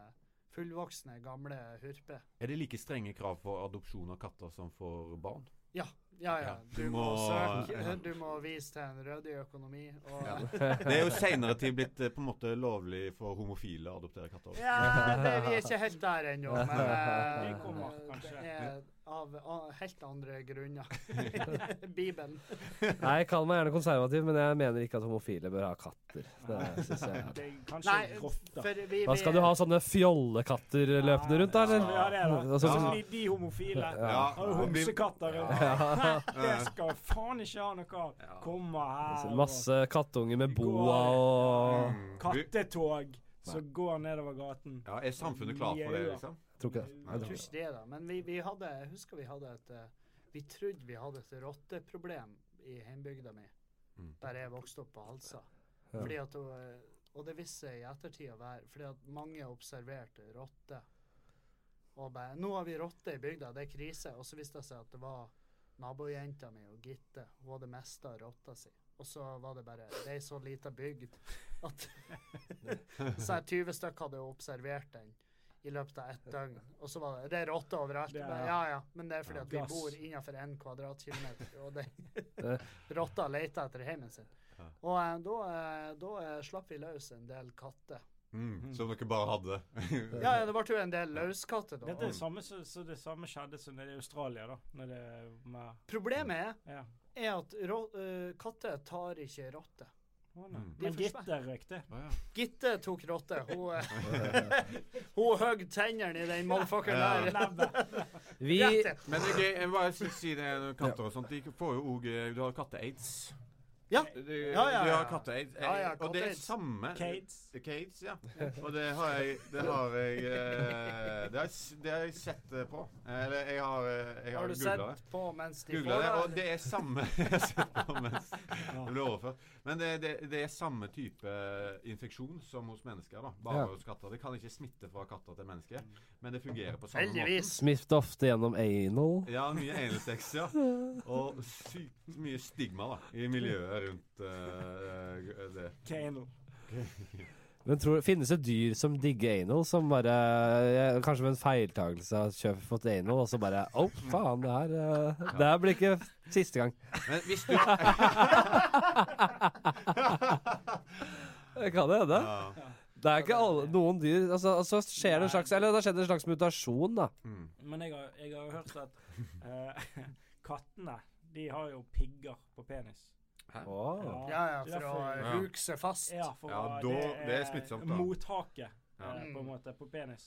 fullvoksne, gamle hurper.
Er det like strenge krav for adopsjon av katter som for barn?
Ja,
Ja,
ja.
du
Du må
må-
søke, du må vise til en rødig økonomi. Og
Ja. Det er jo seinere tid blitt eh, på en måte lovlig for homofile å adoptere katter. også.
Ja, det, vi er ikke helt der ennå, men eh,
Vi kommer, kanskje.
det er av a- helt andre grunner. Bibelen.
Nei, kall meg gjerne konservativ, men jeg mener ikke at homofile bør ha katter. Det synes jeg er-
Det er kanskje
Nei,
rotter.
for vi,
Hva
vi-
skal du ha sånne fjollekatter løpende rundt, da? eller?
Ja, det er
Altså,
det. Sånn
sånn-
som de, de homofile.
Ja.
Har du homsekatter?
Ja.
Det skal faen ikke ha noe av.
Ja.
Komme her.
Sånn
og-
Masse kattunger med boa og
Mm. Du-
Kattetog som går nedover gaten.
Ja, Er samfunnet klart for det, liksom?
Tror ikke det.
Jeg
Jeg
tror
tror
ikke det, da. Men vi, vi hadde, jeg husker vi hadde et eh, Vi trodde vi hadde et rotteproblem i heimbygda mi,
Mm.
der jeg vokste opp på Halsa.
Ja.
Fordi at, det var- og det viste seg i ettertid å være fordi at mange observerte rotter. Og bare 'Nå har vi rotte i bygda, det er krise.' Og så viste det seg at det var nabojenta mi og Gitte. Hun hadde mista rotta si. Og så var det bare Det er ei så lita bygd at Så her 20 stykker hadde observert den i løpet av ett døgn. Og så var det Det er rotter overalt.
Det er-
Bare, ja, ja. Men det er fordi
Ja.
at vi
Gass.
bor innenfor én kvadratkilometer, og det rotta leter etter heimen sin.
Ja.
Og eh, da, eh, da eh, slapp vi løs en del katter.
Mm. Som dere bare hadde.
Ja, ja, det ble jo en del løskatter da.
Dette er det samme, så, så det samme skjedde som nede i Australia, da. Når det er med
Problemet er,
Ja.
er at rå, eh, katter tar ikke rotter.
Å, nei.
Mm.
Men
De er for
Gitte røk det.
Å, ja.
Gitte tok rotter. Hun, eh, hun høgg tennene i den motherfuckeren der.
Nebbet.
Vi
Rett til.
Men det er gøy, jeg vil bare si- si det med katter og sånt. De får jo òg Du har katte-aids.
Ja.
Du,
Ja, ja,
du
ja.
har katte-aids.
Ja, ja,
og det er
katte-aids.
samme
Kates.
Cades, ja. Og det har jeg Det har jeg, eh, det har jeg, s- det har jeg sett eh, på. Eller jeg har, eh, jeg
Har
har
du
googla det.
sett på mens de
Googlet
får
det, og
eller?
det er samme jeg har sett på mens det ble overført. Men det, det, det er samme type eh, infeksjon som hos mennesker. da Bare
Ja.
hos katter. Det kan ikke smitte fra katter til mennesker, men det fungerer på samme måte.
Heldigvis.
smitter ofte gjennom anal.
Ja, mye analsex, ja. Og sykt mye stigma da i miljøet rundt eh, det.
Canal.
Men tror, finnes det dyr som digger anal, som bare eh, Kanskje ved en feiltagelse har kjøpt fått anal, og så bare Å, faen, det her eh, Det her blir ikke siste gang.
Men hvis du
Det Kan det hende?
ja.
Det er ikke alle, noen dyr altså, altså skjer det en slags Eller det har skjedd en slags mutasjon, da.
mm.
Men jeg har, jeg har hørt at eh, kattene, de har jo pigger på penis.
Åh.
Ja, ja,
det er
for å
derfor-
Ja.
huke seg fast.
Ja, for
Ja,
å-
da- det er smittsomt, da.
Mottaket,
Ja.
eh,
Mm.
på en måte, på penis.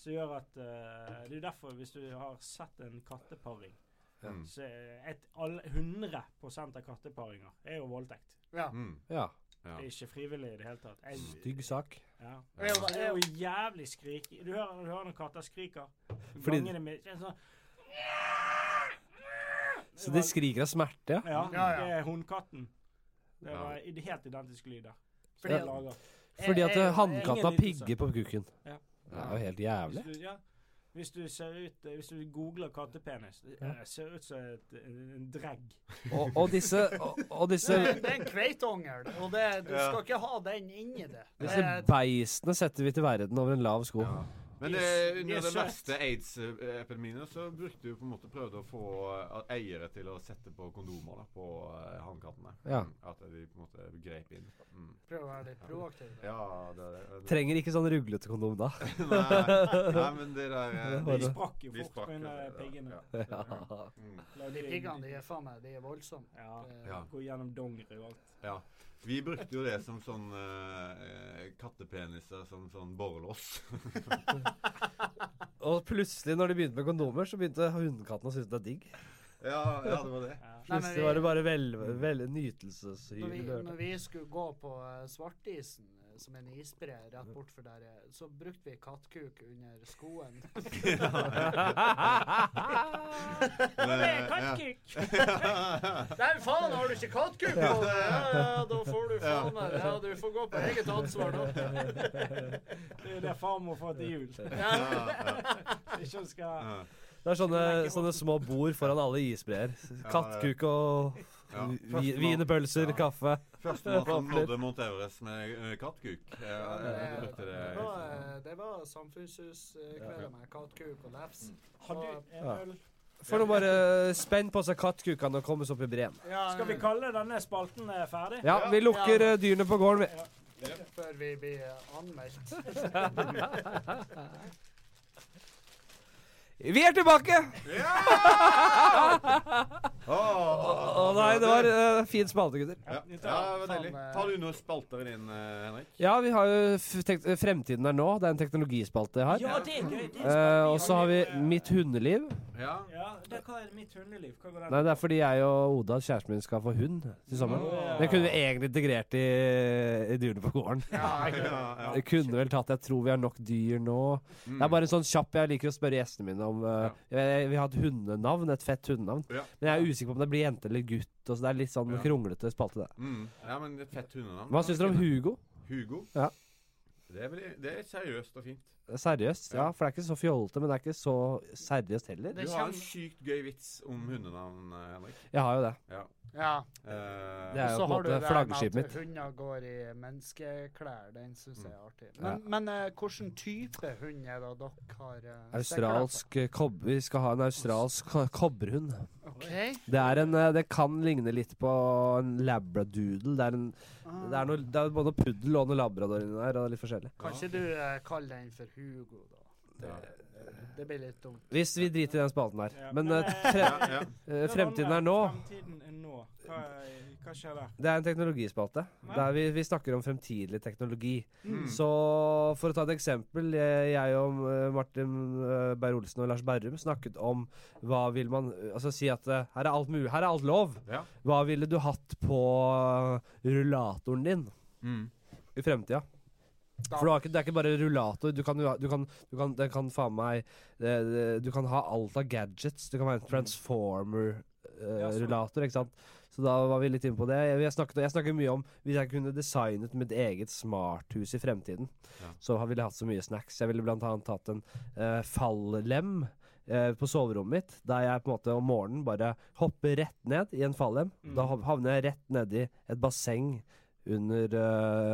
Som gjør at eh, Det er derfor, hvis du har sett en katteparing
Mm.
så er et, alle- 100 av katteparinger er jo voldtekt.
Ja.
Mm.
Ja.
Ja.
Det er ikke frivillig i det hele tatt. Jeg,
Stygg sak.
Ja.
Og jeg
Så
var-
Det er jo jævlig skrik... Du hører, du hører når katter skriker.
Fordi-
Gangene med det er sånn,
Så de skriker av smerte, ja.
Ja,
Ja, ja.
det er hundkatten. Det
Ja.
var i- det helt identiske lyder. Som
Fordi
de
at-
lager.
Fordi at
Jeg-
eh,
jeg-
hannkatten har
ingen lidelse.
pigger på kuken.
Ja.
Det er jo helt jævlig.
Hvis du, ja, hvis du ser ut eh, Hvis du googler kattepenis, det
Ja.
eh, ser ut som et, en, en dregg.
Og, og disse, og, og disse,
Det, det er en kveitongel, og det, du
Ja.
skal ikke ha den inni det. det
disse
er-
beistene setter vi til verden over en lav sko.
Ja. Men
De er
eh,
s- de
under
er
den
søt.
verste aids-epidemien så brukte du på en måte prøvde å få eh, eiere til å sette på kondomer da, på eh, hannkattene.
Ja.
Mm, At de på en måte grep inn. Mm.
Prøv å være litt proaktiv. da.
Ja, det er det.
Trenger ikke sånn ruglete kondom da.
Nei, nei, men det der eh,
Det var
De
det.
sprakk jo
de
fort
sprakk,
under
eh,
piggene.
ja.
Ja.
Mm.
De piggene, de er faen meg de er voldsomme.
Ja.
Det-
Ja.
Gå gjennom dongeri og alt.
ja. Vi brukte jo det som sånn eh, eh, kattepeniser som sånn borrelås.
Og plutselig, når de begynte med kondomer, så begynte hundekatten å synes det er digg.
ja, ja, det var det.
Ja.
Nei, men vi,
Plutselig var det bare vel, vel
når, vi,
nytelseshyl.
når vi skulle gå på eh, Svartisen, som en isbre rett bortfor der, jeg- så brukte vi kattkuk under skoen.
eh,
Kattkuk!
Nei, faen, har du ikke kattkuk på deg? Ja, ja, da får du faen meg Ja, du får gå på eget ansvar nå.
Det er det farmor får til jul. Ikke hun skal
Ja.
Det er sånne, sånne små bord foran alle isbreer. Kattkuk og
Ja.
vi- wienerpølser,
Ja.
kaffe.
Førstemann som nådde Mount Everest med eh, kattkuk. Eh, jeg
Det,
brukte det.
det var, eh, det var samfunnshuskvelder med kattkuk og lefs.
Har du en
Ja.
øl?
For nå bare eh, spenn på seg kattkukene og komme oss opp i breen.
Ja,
Skal vi kalle denne spalten eh, ferdig?
Ja, vi lukker eh, dyrene på gården, vi.
Før vi blir eh, anmeldt.
Vi er tilbake! Å
Å
nei, det var eh, fin spalte, gutter.
Ja, ja, det var deilig. Har du noen spalter i din, eh, Henrik?
Ja, vi har jo f tek Fremtiden er nå. Det er en teknologispalte jeg har.
Ja, det er gøy. det er
Eh, og
spennende.
så har vi Mitt hundeliv.
Ja.
Ja, det, hva er mitt hundeliv? Hva går den
Nei, det er fordi jeg og Oda, kjæresten min, skal få hund til sammen.
Åh.
Den kunne vi egentlig integrert i, i Dyrene på gården.
Ja, ja,
Jeg kunne vel tatt Jeg tror vi har nok dyr nå.
Mm.
Det er bare en sånn kjapp Jeg liker å spørre gjestene mine om eh, jeg, Vi har et hundenavn, et fett hundenavn.
Ja.
Men jeg er usikker på om det blir jente eller gutt. Og så det er litt sånn
Ja.
kronglete spalte, det.
Mm. ja, men et fett hundenavn.
Hva syns dere om Hugo?
Hugo?
Ja.
Det er, veldig, det er seriøst og fint.
Seriøst? Ja,
Ja.
for det er ikke så fjollete, men det er ikke så seriøst heller.
Det
Du har en
kjem-
sykt gøy vits om hundenavn, eh, Henrik.
Jeg har jo det.
Ja.
Ja.
Eh,
Det er jo
Så
på en
har du
måte
det
flaggskipet
med
mitt. Mm.
at hunder går i menneskeklær. Den syns jeg er artig. Men,
Ja.
men eh, hvilken type hund er det dere har? eh, steklær
Australsk eh, kob... Vi skal ha en australsk ko- kobberhund.
på? Ok.
Det er en eh, Det kan ligne litt på en labradoodle. Det er en
Ah.
Det er, noe, det er både noe puddel og noe labrador inni der. Og det er litt forskjellig.
Kan ikke du eh, kalle den for Hugo, da?
ja.
Det blir litt dumt.
Hvis vi driter i den spalten der.
Ja,
Men
men,
eh,
eh,
fre
Ja, ja.
eh, fremtiden er nå.
Fremtiden er nå. Hva, er- hva skjer der?
Det er en teknologispalte.
Ja.
Der vi, vi snakker om fremtidig teknologi.
Mm.
Så for å ta et eksempel. Jeg, jeg og eh, Martin eh, Beyer-Olsen og Lars Berrum snakket om hva vil man Altså si at eh, her er alt mulig. Her er alt lov.
Ja.
Hva ville du hatt på eh, rullatoren din
Mm.
i fremtida? For du har ikke, det er ikke bare rullator. Du kan, jo ha- du kan, du kan, det kan faen meg det, det, Du kan ha alt av gadgets. Du kan være en
Ja, sånn.
transformer-rullator, ikke sant. Så da var vi litt inne på det. Jeg, jeg, snakket, jeg snakker mye om hvis jeg kunne designet mitt eget smarthus i fremtiden,
Ja.
så ville jeg hatt så mye snacks. Jeg ville blant annet tatt en eh, fallem. eh, På soverommet mitt, der jeg på en måte om morgenen bare hopper rett ned i en fallem.
Mm.
Da hav- havner jeg rett nedi et basseng under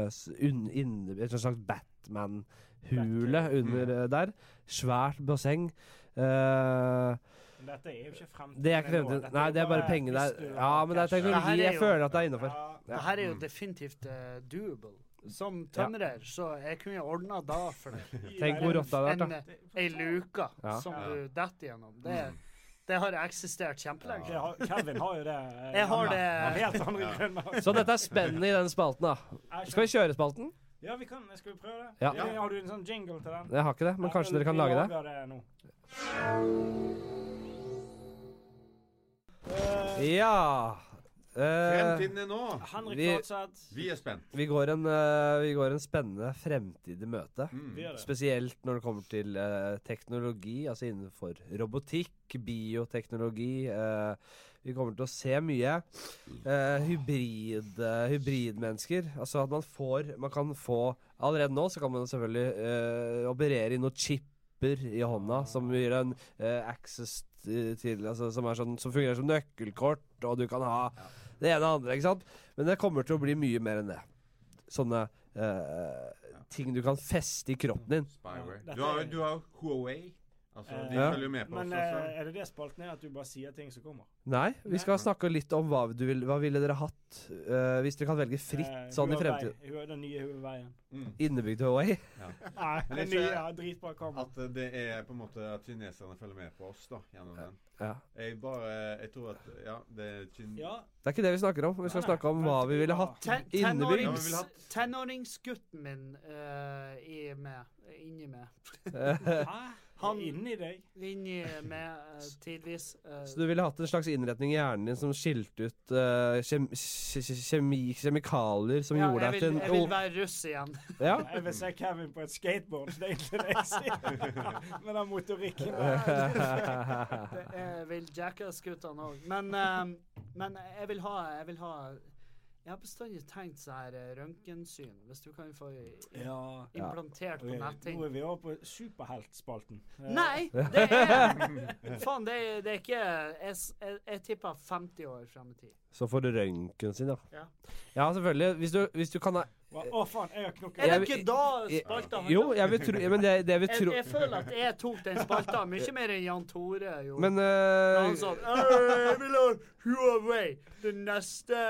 eh, s- un, inne, Et slags Batman-hule
Batcave.
under eh, der. Svært basseng. Eh,
Men Dette er jo ikke fremtiden.
det er ikke
nå.
fremtiden.
Dette
Nei, det er bare penger
pengene
der. Ja, men det er teknologi.
Det her er
Jeg
jo-
føler at det er innafor. Ja. Mm.
Det her er jo definitivt eh, doable. Som tømrer, så jeg kunne ordna da for deg.
Tenk hvor rått det hadde
En,
vært, da.
eh, Ei luke
Ja. Mm.
som
Ja.
du detter gjennom. Det, det har eksistert kjempelenge.
Kevin har jo det. eh,
Jeg har
hjemme.
det.
Av helt andre grunner.
Så dette er spennet i den spalten, da. Skal vi kjøre spalten?
Ja, vi kan. Skal vi prøve det?
Ja.
Har du en sånn jingle til den?
Jeg har ikke det, men kanskje dere kan lage det?
nå.
Ja. Eh,
Fremtiden er nå.
Henrik
Vi-
Flatseth.
Vi er spent.
vi, går en, eh, vi går en spennende fremtid i møte.
Mm.
Vi gjør det.
Spesielt når det kommer til eh, teknologi, altså innenfor robotikk, bioteknologi. eh, vi kommer til å se mye eh, hybrid, eh, hybridmennesker. Altså at man får Man kan få Allerede nå så kan man selvfølgelig eh, operere i noen chipper i hånda som gir en eh, access t- til altså, som, er sånn, som fungerer som nøkkelkort, og du kan ha det ene og det andre, ikke sant? Men det kommer til å bli mye mer enn det. Sånne eh, ting du kan feste i kroppen din.
Spyware.
Dette
Du har,
er-
du har Huawei. Altså, de
Ja.
følger jo med på
Men
oss også.
eh, er det det spalten er, at du bare sier ting som kommer?
Nei, vi
Nei.
skal snakke litt om hva, du vil, hva ville dere hatt eh, hvis dere kan velge fritt
Eh,
sånn i
Huawei.
fremtiden.
Hu- Den nye Huawei-en.
Mm.
Innebygd Hawaii.
Nei,
Men
den
det er
nye
ikke-
ja, dritbra kamera.
At eh, det er på en måte at kineserne følger med på oss da, gjennom den.
Ja.
Jeg bare Jeg tror at Ja, det er kin...
Ja,
Det er ikke det vi snakker om. Vi skal
Nei,
snakke om
nei,
hva
det
vi
blir
ville
bra.
hatt
Ten-
innebygd.
tenårings- Tenåringsgutten min eh, i meg, inni meg,
Hæ?
Han
Inni deg.
inni med eh, tidvis eh,
Så du ville hatt en slags innretning i hjernen din som skilte ut eh, kjem, kje- kje- kjemi, kjemikalier som
ja,
gjorde
jeg
deg
vil,
til en
Jeg vil være russ igjen.
oh, ja?
Jeg vil se Kevin på et skateboard, så det er egentlig det jeg sier. Med den motorikken der.
Det
ja,
er, vil Jackass-guttene òg. Men, eh, men jeg vil ha Jeg vil ha Jeg har bestandig tenkt sånn her eh, røntgensyn. Hvis du kan få i- i-
Ja.
Ja.
implantert
Ok,
på netting.
Nå er vi over på superheltspalten. Eh,
Nei! Det er Faen, det, er- det er ikke Jeg, s- jeg, jeg tipper 50 år frem i tid.
Så får du røntgen sin,
Ja.
ja. Ja, selvfølgelig. Hvis du, hvis du kan ha
hva- Å, faen, jeg har knokket.
Er det
Jeg vil-
ikke da spalta handler
Jo,
om?
jeg vil tro ja, Men det, det jeg vil
Jeg,
tro
jeg føler at jeg tok den spalta mye mer enn Jan Tore gjorde.
Men
Da
eh,
han sa «Øh, jeg vil ha Huawei, det neste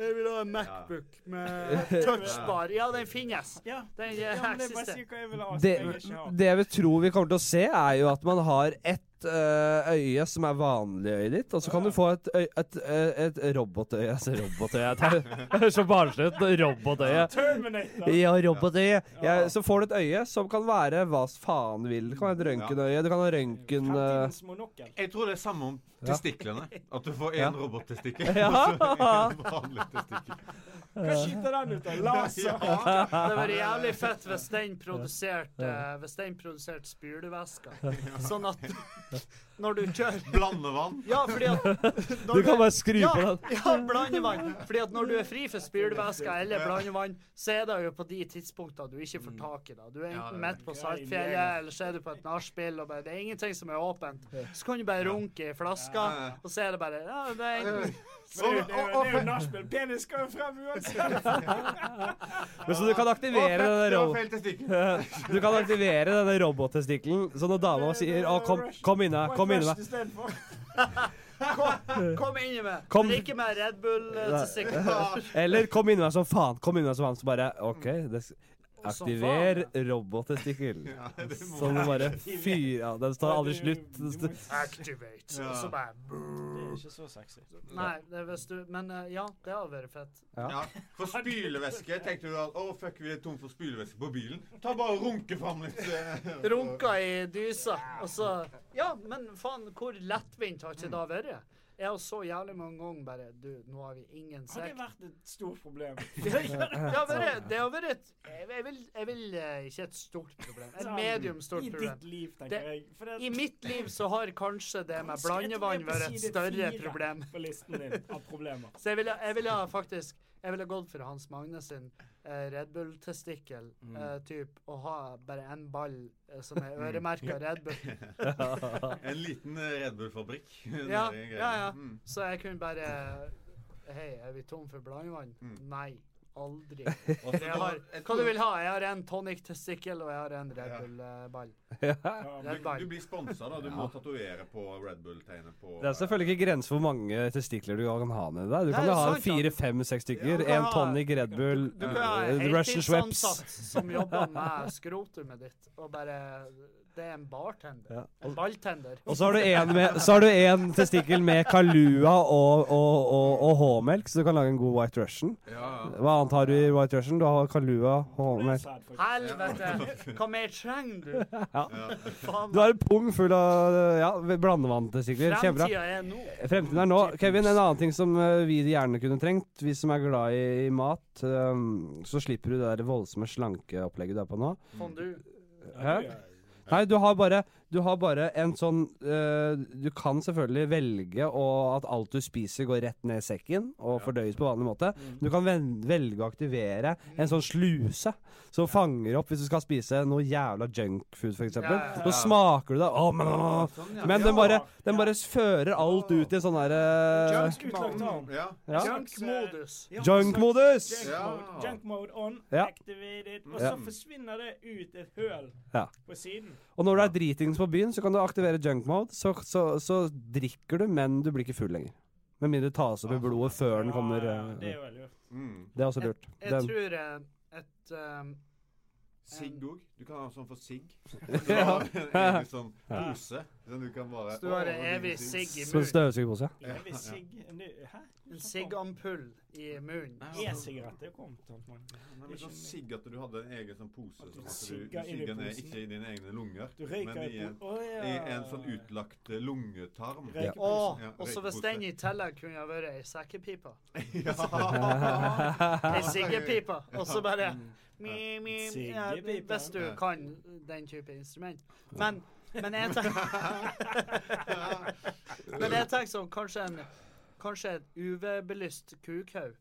Jeg vil ha en Macbook med touchbar. Ja, den finnes.
Ja.
Den eh,
Ja, men det er bare å si
eksisterer.
hva jeg vil ha.
det,
som jeg ikke har.
det jeg vil tro vi kommer til å se, er jo at man har ett eh, øye som er vanlig øyet ditt, og så kan du få et, øy, et, eh, et robotøye Altså robotøye Det er så barnslig ut. Robotøye.
Terminator!
Ja, robotøye.
Ja.
Ja, så får du et øye som kan være hva faen du vil. Det kan være et røntgenøye, du kan ha røntgen... eh,
Fremtidens monokkel.
Jeg tror det er samme om testiklene. At du får én
Ja.
robottestikkel.
Ja.
Og så en vanlig testikkel.
Hva skyter den ut av? Laser?
Ja.
Det hadde vært jævlig fett hvis den produserte eh, Hvis den produserte spylevæske. Sånn at når du kjører
Blandevann.
Ja, fordi at når
Du kan bare skru
ja,
på den.
Ja, blandevann. Fordi at når du er fri for spylevæske eller blandevann, så er det jo på de tidspunktene du ikke får tak i det. Du er
Ja,
enten
det-
midt på
Ja,
Saltfjellet,
innlegg.
eller så er du på et nachspiel, og bare, det er ingenting som er åpent. Så kan du bare runke i flaska,
Ja.
og så er det bare ja, det er enten,
Men Det det er jo- det er jo nachspiel. Penis skal jo frem uansett.
Men så du kan aktivere
Å,
denne
det var
ro-
feil testikkel.
Du kan aktivere denne robottestikkelen, så når dama sier å, kom, kom inne, kom inne meg.
kom, kom inni meg.
Kom.
Drikke med Red Bull eh, til sikkert.
Eller kom inne meg som faen, kom inne meg som faen. Så bare OK, det, aktiver robottestikkel.
Ja, det må
Sånn du bare fyr Ja, den tar aldri slutt.
Activate. Og så bare
Det er ikke så sexy.
Nei, det er hvis du Men eh, ja, det hadde vært fett.
Ja. For spylevæske tenkte du at å, fuck, vi er tom for spylevæske på bilen. Ta bare og runke fram litt. eh,
Runka i dysa, og så Ja, men faen, hvor lettvint har ikke det vært? Jeg har så jævlig mange ganger bare Du, nå har vi ingen
Har det
sekk.
vært sånn? et stort problem?
Det har vært, det har vært et jeg, jeg, vil, jeg vil eh, ikke et stort problem. Et
Sånn,
medium stort
I
problem.
ditt liv, tenker
Det-
jeg. For det-
I mitt liv så har kanskje det med
Kanskje jeg tror jeg
blandevann
er på
vært et
side
større
fire
problem.
På listen din av problemer.
Så jeg ville, jeg ville faktisk Jeg ville gått for Hans Magne sin eh, Red Bull-testikkel, eh, typ, og ha bare en ball eh, som er øremerka Red Bull.
En liten eh, Red Bull-fabrikk.
Ja,
Den der greia.
ja, ja.
Mm.
Så jeg kunne bare Hei, er vi tom for blandevann? Nei. Aldri.
Og så
Jeg har,
et-
hva du vil ha? Jeg har en tonic-testikkel, og jeg har en Red
Ja.
Bull-ball.
Ja,
Red
Du, du
Bull.
blir sponsa, da. Du må tatovere på Red Bull-tegnet på
Det er selvfølgelig ikke grenser for hvor mange testikler du kan ha nedi deg. Du kan
Nei,
jo ha
sant, ja.
fire, fem, seks
Ja,
stykker.
du kan
En
ha-
tonic Red Bull,
Du kan ha en
eh, Russian Schweps.
heltidsansatt som jobber med skrotumet ditt, og bare Det er en bartender.
Ja.
En balltender.
Og så har du en med- så har du en testikkel med Kalua og, og, og, og H-melk, så du kan lage en god White Russian.
Ja, ja.
Hva annet har du i White Russian? Du har Kalua,
det er
H-melk
sad, faktisk.
Helvete! Hva mer trenger du? Faen.
Du har en pung full av eh, ja, blandevanntestikler. Kjempebra.
Fremtida er nå.
Fremtiden er nå. Kevin, en annen ting som eh, vi gjerne kunne trengt, vi som er glad i, i mat, ehm, så slipper du det der voldsomme slankeopplegget du er på nå.
Fondue.
Hæ? Nei, du har bare, du har bare en sånn eh, Du kan selvfølgelig velge å, at alt du spiser, går rett ned i sekken og fordøyes på vanlig måte. Du kan ven- velge å aktivere en sånn sluse som fanger opp hvis du skal spise noe jævla junkfood, f.eks.
Ja, ja, ja.
Så smaker du det Åh, men, åh, åh.
Sånn, ja.
men
ja.
den bare, den bare fører alt ut i sånn derre
Junk utlagt arm.
ja.
ja.
Junk-modus.
Ja,
Junk-modus!
slags Junk
Ja.
mode. Junk mode on,
Ja.
activated, og
Ja.
så forsvinner det ut et høl
Ja.
på siden.
Og når du er dritings på byen, så kan du aktivere junk mode. Så, så, så drikker du, men du blir ikke full lenger. Med mindre det tas opp i blodet før den kommer.
Ja, ja, det
eh,
er jo lurt.
Mm.
Det er også lurt.
Jeg
Den-
tror eh, et um,
Sigg òg. Du kan ha sånn for sigg.
Ja.
En egen sånn pose Sånn du kan bare
Så du har
Å,
en
nå blir
evig
det
sigg i
Som
munnen.
støvsugerpose.
Evig sigg... nu- Hæ?
En siggampull i munnen.
Nei, altså,
E-sigarett er jo kommet. Antman.
Nei, men sånn sigg at du hadde en egen sånn pose.
At du
Sånn at du, du
sigger inn i
sigger ned
posen.
ikke i dine egne lunger,
Du
men
røyker
i
i
en,
po- Å, ja.
i en sånn utlagt eh, lungetarm.
Røykepose.
Å,
Ja,
og så hvis
røykepose.
den i tillegg kunne ha vært ei sekkepipe.
Ja.
Ei siggepipe. Og så bare mi, mi, ja,
Siggepipe.
Hvis du
Ja.
kan den type instrument. Men, men jeg tenker Men jeg tenker sånn kanskje en Kanskje et UV-belyst kukhaug.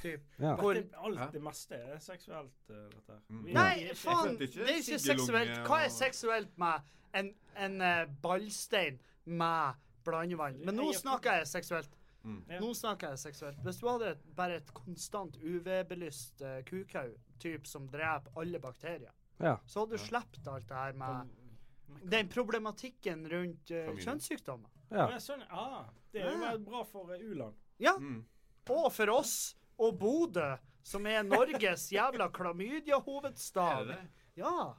Typ.
Ja.
Hvor
Dette-
Hæ?
Alt det meste er seksuelt, eh, dette her.
Mm.
Vi-
Nei,
vi-
faen!
skjønte ikke
Det er ikke
siggelunge
seksuelt. Hva er
og-
seksuelt med en, en eh, ballstein med blandevann? Men nå snakker jeg seksuelt.
Mm.
Ja.
Nå snakker jeg seksuelt. Hvis du hadde et, bare et konstant UV-belyst uh, kukhaug, typ som dreper alle bakterier,
Ja.
så hadde du
Ja.
sluppet alt det her med
Men hva-
den problematikken rundt eh,
Familie.
kjønnssykdommer.
ja.
Å, ja, sånn, ah, det er jo
Ah.
bare bra for eh, u-land.
Mm.
Og for oss og Bodø, som er Norges jævla
Er
klamydia-hovedstad.
det det?
Ja.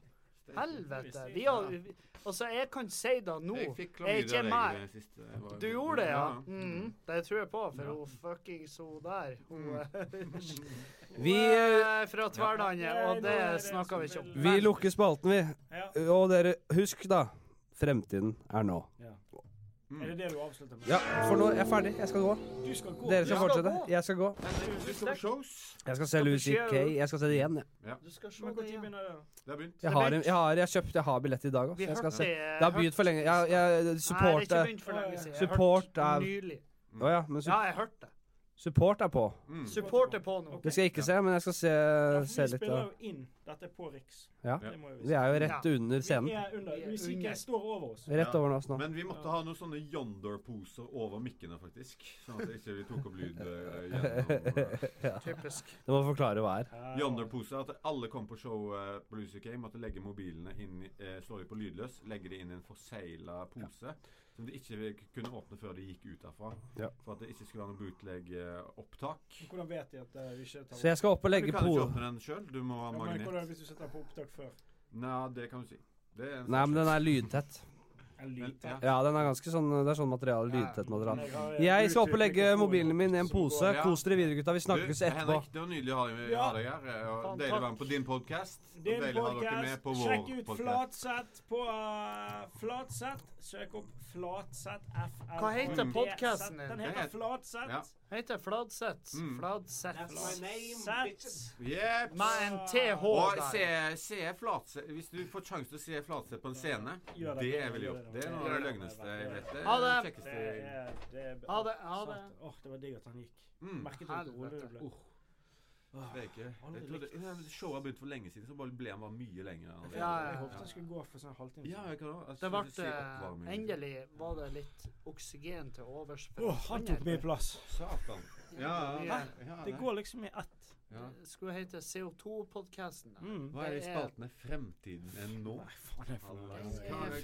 Helvete. Vi har vi- Altså, jeg kan si det nå.
Jeg fikk
er ikke
klamydia
meg.
i det siste. Jeg var-
Du gjorde det, ja?
Mm.
Mm, det tror jeg på, for
Ja.
hun fuckings hun der Hun,
Mm.
Vi,
hun er fra Tverlandet,
Nei, nå
og
er
det
det
snakker vi ikke
som
om.
vil-
vi lukker spalten, vi.
Ja.
Og dere, husk da. Fremtiden er nå.
ja.
Mm.
Er det det du avslutter med?
Ja, for nå er jeg ferdig. Jeg skal gå.
Du skal gå.
Dere skal
skal
fortsette.
gå.
Jeg skal gå.
Nei, nei, Du skal på shows.
Jeg skal se Lucy
Skal du
Kay.
se-
Jeg skal se det igjen. jeg.
Du skal se
Men
det
når
igjen.
begynner det?
Det har begynt.
Jeg har, en- jeg har, jeg har kjøpt jeg har billett i dag òg.
Vi
Jeg skal
hørte
se.
det
Det har begynt for lenge. Jeg, jeg,
Nei, det er
support
ikke
er
begynt for lenge siden. Jeg
Support
hørte
er-
Nylig.
Å ja, men
Ja,
su
jeg hørte det.
support er på.
Mm.
Support er på nå.
Ok.
Det skal jeg ikke se, men jeg skal se,
Ja, for
se
Vi
litt
spiller
av
jo inn. Dette er på Riks.
Ja.
Det må jo
Vi er jo rett under
Vi
scenen.
er under.
Vi er
Musikken
under.
står over oss.
Rett over oss nå.
Men vi måtte ha noen sånne Yonder-poser over mikkene, faktisk. Sånn at ikke vi tok opp lyd eh, gjennom eh,
Typisk.
Du må forklare hva er.
Ja.
Yonder-poser. At alle kom på show eh, på Lucy Kay, måtte legge mobilene inn i- eh, Slå dem på lydløs, legge det inn i en forsegla pose. Som de ikke vil- kunne åpne før de gikk ut derfra.
Ja.
For at det ikke skulle være noe bootleg-opptak.
Hvordan vet de at eh, vi ikke tar
Så jeg skal opp og
Du
legge
kan
på
ikke åpne den sjøl. Du må ha
Ja, men hvordan
magnet.
hvis du setter på opptak før?
Nei, det kan du si. Det er en
Nei, men den er lydtett.
En
Men-
liten.
ja.
Ja, den er ganske sånn Det er sånn materiale. Lydtett materiale.
Jeg har, eh,
Jeg skal opp og legge
Bluetooth-mikrofonen
mobilen min i en
som går-
pose. Kos dere videre, gutta. Vi snakkes
Du,
etterpå.
Henrik, det var nydelig å ha deg, ha
Ja.
deg her. eh, Og
Faen,
deilig å være
takk.
med på din podkast.
Din
Deilig å ha dere med
podcast.
på vår
Sjekk ut
podcast.
Flatsett på eh, Flatsett. Søk opp Flatsett FL.
Hva heter podcasten din?
Den
Det
heter
heter- Ja.
Flatsett.
Heter Fladseth.
Mm.
Fladseth.
my name, bitches.
Jeps.
Med en TH
Og se,
der.
se Flatseth Hvis du får sjanse til å se Flatseth på en scene,
Gjør det.
det er vel jobb. Det er noe av det
Gjør det.
løgneste jeg vet. Det er
Ha
det
det.
Det
kjekkeste jeg-
er, det er
Ha det, ha det.
Satan. Åh, det var digg at han gikk.
Mm. Uh.
Merket du hvor rolig
Helvete.
det
Oh.
ble? Åh,
Det er ikke
Aldri
jeg trodde,
likt.
Nei, men Showet har begynt for lenge siden, så bare ble han bare mye lenger. enn han
Ja,
var.
ja,
Jeg
ja.
håpet han skulle gå for sånn halvtime.
ja, jeg kan også. Jeg
Det
skulle
ble eh,
si
eh,
oppvarming. liksom.
Endelig var det litt oksygen til overs. for
Åh, han tok mye plass.
Satan. Ja, ja,
Mye.
ja,
Det
nei.
går liksom i ett.
ja.
Det skulle hete CO2-podkasten.
Mm.
Hva er det i
Det er-
spalten? Er fremtiden enn nå?
Nei, faen, det er for noe.
Hva- altså.
Det
hva var
er
galt-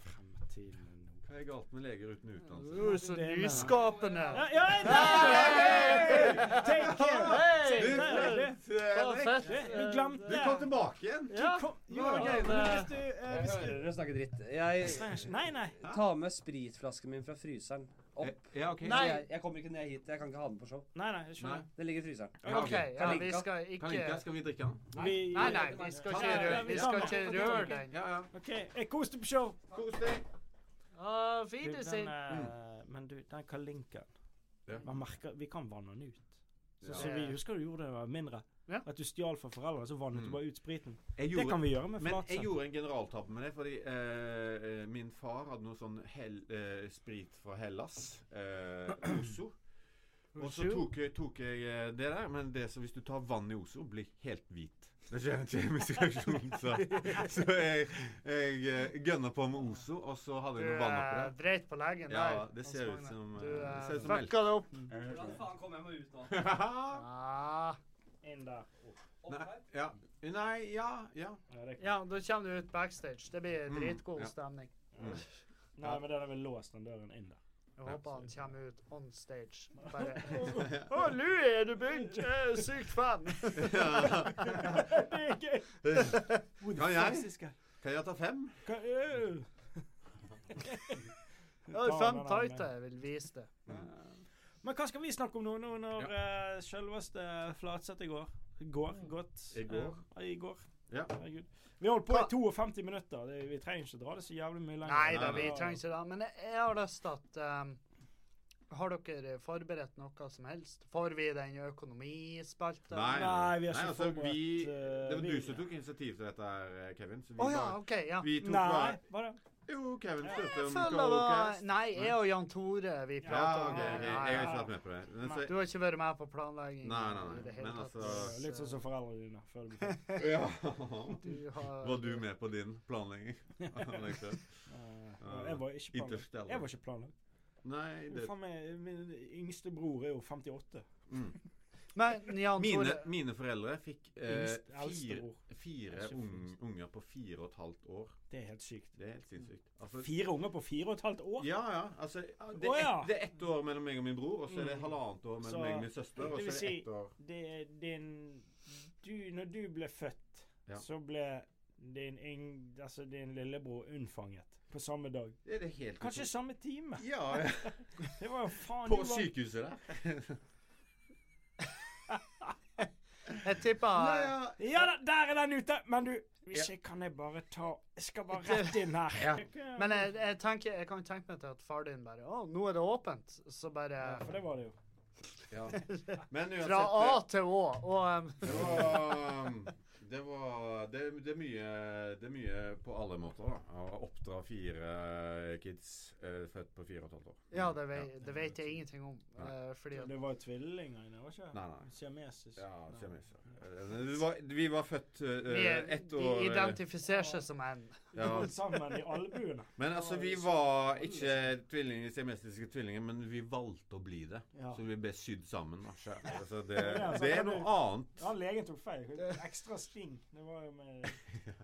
Fremtiden er nå.
Hva er galt med leger uten utdannelse?
Du er så nyskapende.
Ja, ja, nei! Take care!
Hei!
Du,
Hei!
Fred, Henrik,
Fett. eh,
Du du glemte
du kom tilbake igjen!
Ja.
Kom, jo,
Hva er
ja,
greia
men
med-
hvis du, eh, hvis du
dere snakke dritt. Jeg
Nei, nei.
tar med spritflasken min fra fryseren Altså,
Eh, Ja, ok.
Nei.
Jeg, jeg kommer ikke ned hit. Jeg kan ikke ha den på show.
Nei, nei, jeg skjønner.
Den ligger i fryseren.
Ja,
OK, ja, vi
Kalinka.
skal ikke
Kalinka, skal vi drikke den?
Vi-
Nei, nei, vi skal ikke røre, vi skal ikke røre den.
Ja, ja.
OK. Jeg koste på show.
Kos deg!
Å,
Du, den,
Wiedersehen.
eh, men du, den kalinken
Mm. Ja.
Man merker Vi kan vanne den ut. Så,
Ja.
så vi husker du gjorde det da du var mindre.
Ja.
At du stjal fra foreldrene, så vannet du
Mm.
bare ut spriten.
Jeg
Det
gjorde,
kan vi gjøre med
men jeg
flatsett.
gjorde en generaltabbe med det, fordi eh, eh, min far hadde noe sånn hell, eh, sprit fra Hellas. Eh, Ozo. Og så tok, jeg- tok jeg eh, det der, men det som hvis du tar vann i Ozo, blir helt hvit. Det skjer en kjemisk reaksjon, så, så jeg, jeg eh, gønner på med Ozo, og så hadde
Du
jeg noe vann oppi
eh,
der.
dreit på legen der.
Ja, det
Hans
ser ut
Magne.
som, eh,
Du
det ser
eh,
ut som melk.
fucka det opp.
faen kom jeg meg ut nå?
Ah.
Inn der. Oh,
Nei, ja. Nei, ja, ja.
Ja, det,
Ja, da kommer du ut backstage. Det blir
Mm,
dritgod
ja.
stemning.
Mm. nei, men det er vel låst den døren inn der.
Jeg håper han kommer ut on stage. Bare Å, Louie, er du begynt? Jeg er sykt fan.
Det er gøy!
Kan jeg,
Fysiske.
kan jeg ta fem?
Hva- øh.
Ja, det er fem tighter, jeg vil vise det.
Men hva skal vi snakke om nå, nå når
Ja.
eh, selveste Flatseth i går Går godt.
I går.
Eh, I går.
Ja.
Herregud. Vi holdt på
Hva-
i 52 minutter. Det, vi trenger ikke dra det så jævlig mye lenger.
Nei da,
Nei,
vi
Ja.
trenger ikke det. Men jeg, jeg har lyst til at ehm, Har dere forberedt noe som helst? Får vi den økonomispalten?
Nei,
Nei, vi har
Nei,
ikke
altså,
forberedt,
vi,
eh,
Det var
vi-
du som tok initiativ til dette, her, eh, Kevin. Så vi,
Å ja,
bare,
OK. Ja.
vi tok
Nei,
bare
var det?
Jo, Kevin spurte
Jeg
om
føler det var
Carocast.
Nei, jeg og Jan Tore, vi
Ja,
Ja,
prater
ok, ok.
om
Jeg har
det.
ikke vært med på det. Men,
Du
så,
har ikke vært med på planlegging?
Nei, nei, nei.
i det hele
Men
tatt,
altså-
så
Litt sånn som foreldrene dine. Føler du på.
ja.
du har-
Var du med på din planlegging? Nei,
Eh, jeg var ikke planlagt.
Interstellar.
Jeg var ikke planlagt.
det
Faen meg, min yngste bror er jo 58.
mm.
Men Jan
mine,
Tore
mine foreldre fikk eh,
Yngst- eldste
fire,
bror. Det
fire
er ikke
un-
fint.
unger på fire og et halvt år.
Det er helt sykt.
Det er helt sinnssykt. Altså,
Fire unger på fire og et halvt år?
ja, ja. Altså, det,
Å,
er
ja.
ett, det er ett år mellom meg og min bror, og så er det
Mm.
halvannet år mellom
Så-
meg og min søster. Og så
det vil
er det
si-
ett år
Det er din du, Når du ble født,
Ja.
så ble din, yng, altså din lillebror unnfanget på samme dag.
Det er det helt
Kanskje samme time!
Ja, ja.
Det var jo faen
På
det var-
sykehuset der.
Jeg tipper
Ja, ja.
Ja da, der er den ute! Men du, hvis
Ja.
jeg kan jeg bare ta Jeg skal bare rett inn her.
Ja.
Men jeg, jeg, tenker, jeg kan tenke meg til at far din bare Å, nå er det åpent. Så bare
Ja, For det var det jo.
Ja. Men uansett
Fra A til Å. Og um,
Det var, um, det, var det, det, er mye, det er mye på alle måter, da. Å oppdra fire kids eh, født på fire og et halvt år.
Ja, det vet, det vet jeg ingenting om.
Nei.
eh, fordi at
Det var jo tvillinger inne, var ikke det?
Nei, nei.
Siamesisk.
Ja,
Nei.
siameser. Eh, vi var- Vi var født eh,
vi er,
ett
de
år eh,
identifiserer seg som en.
ja.
Alt sammen i albuene.
Men altså, vi var ikke tvillinger, siamesiske tvillinger, men vi valgte å bli det.
Ja.
Så vi ble sydd sammen. da. Så, Altså, det, det er noe annet.
Ja, legen tok feil. Ekstra sting. Det var jo med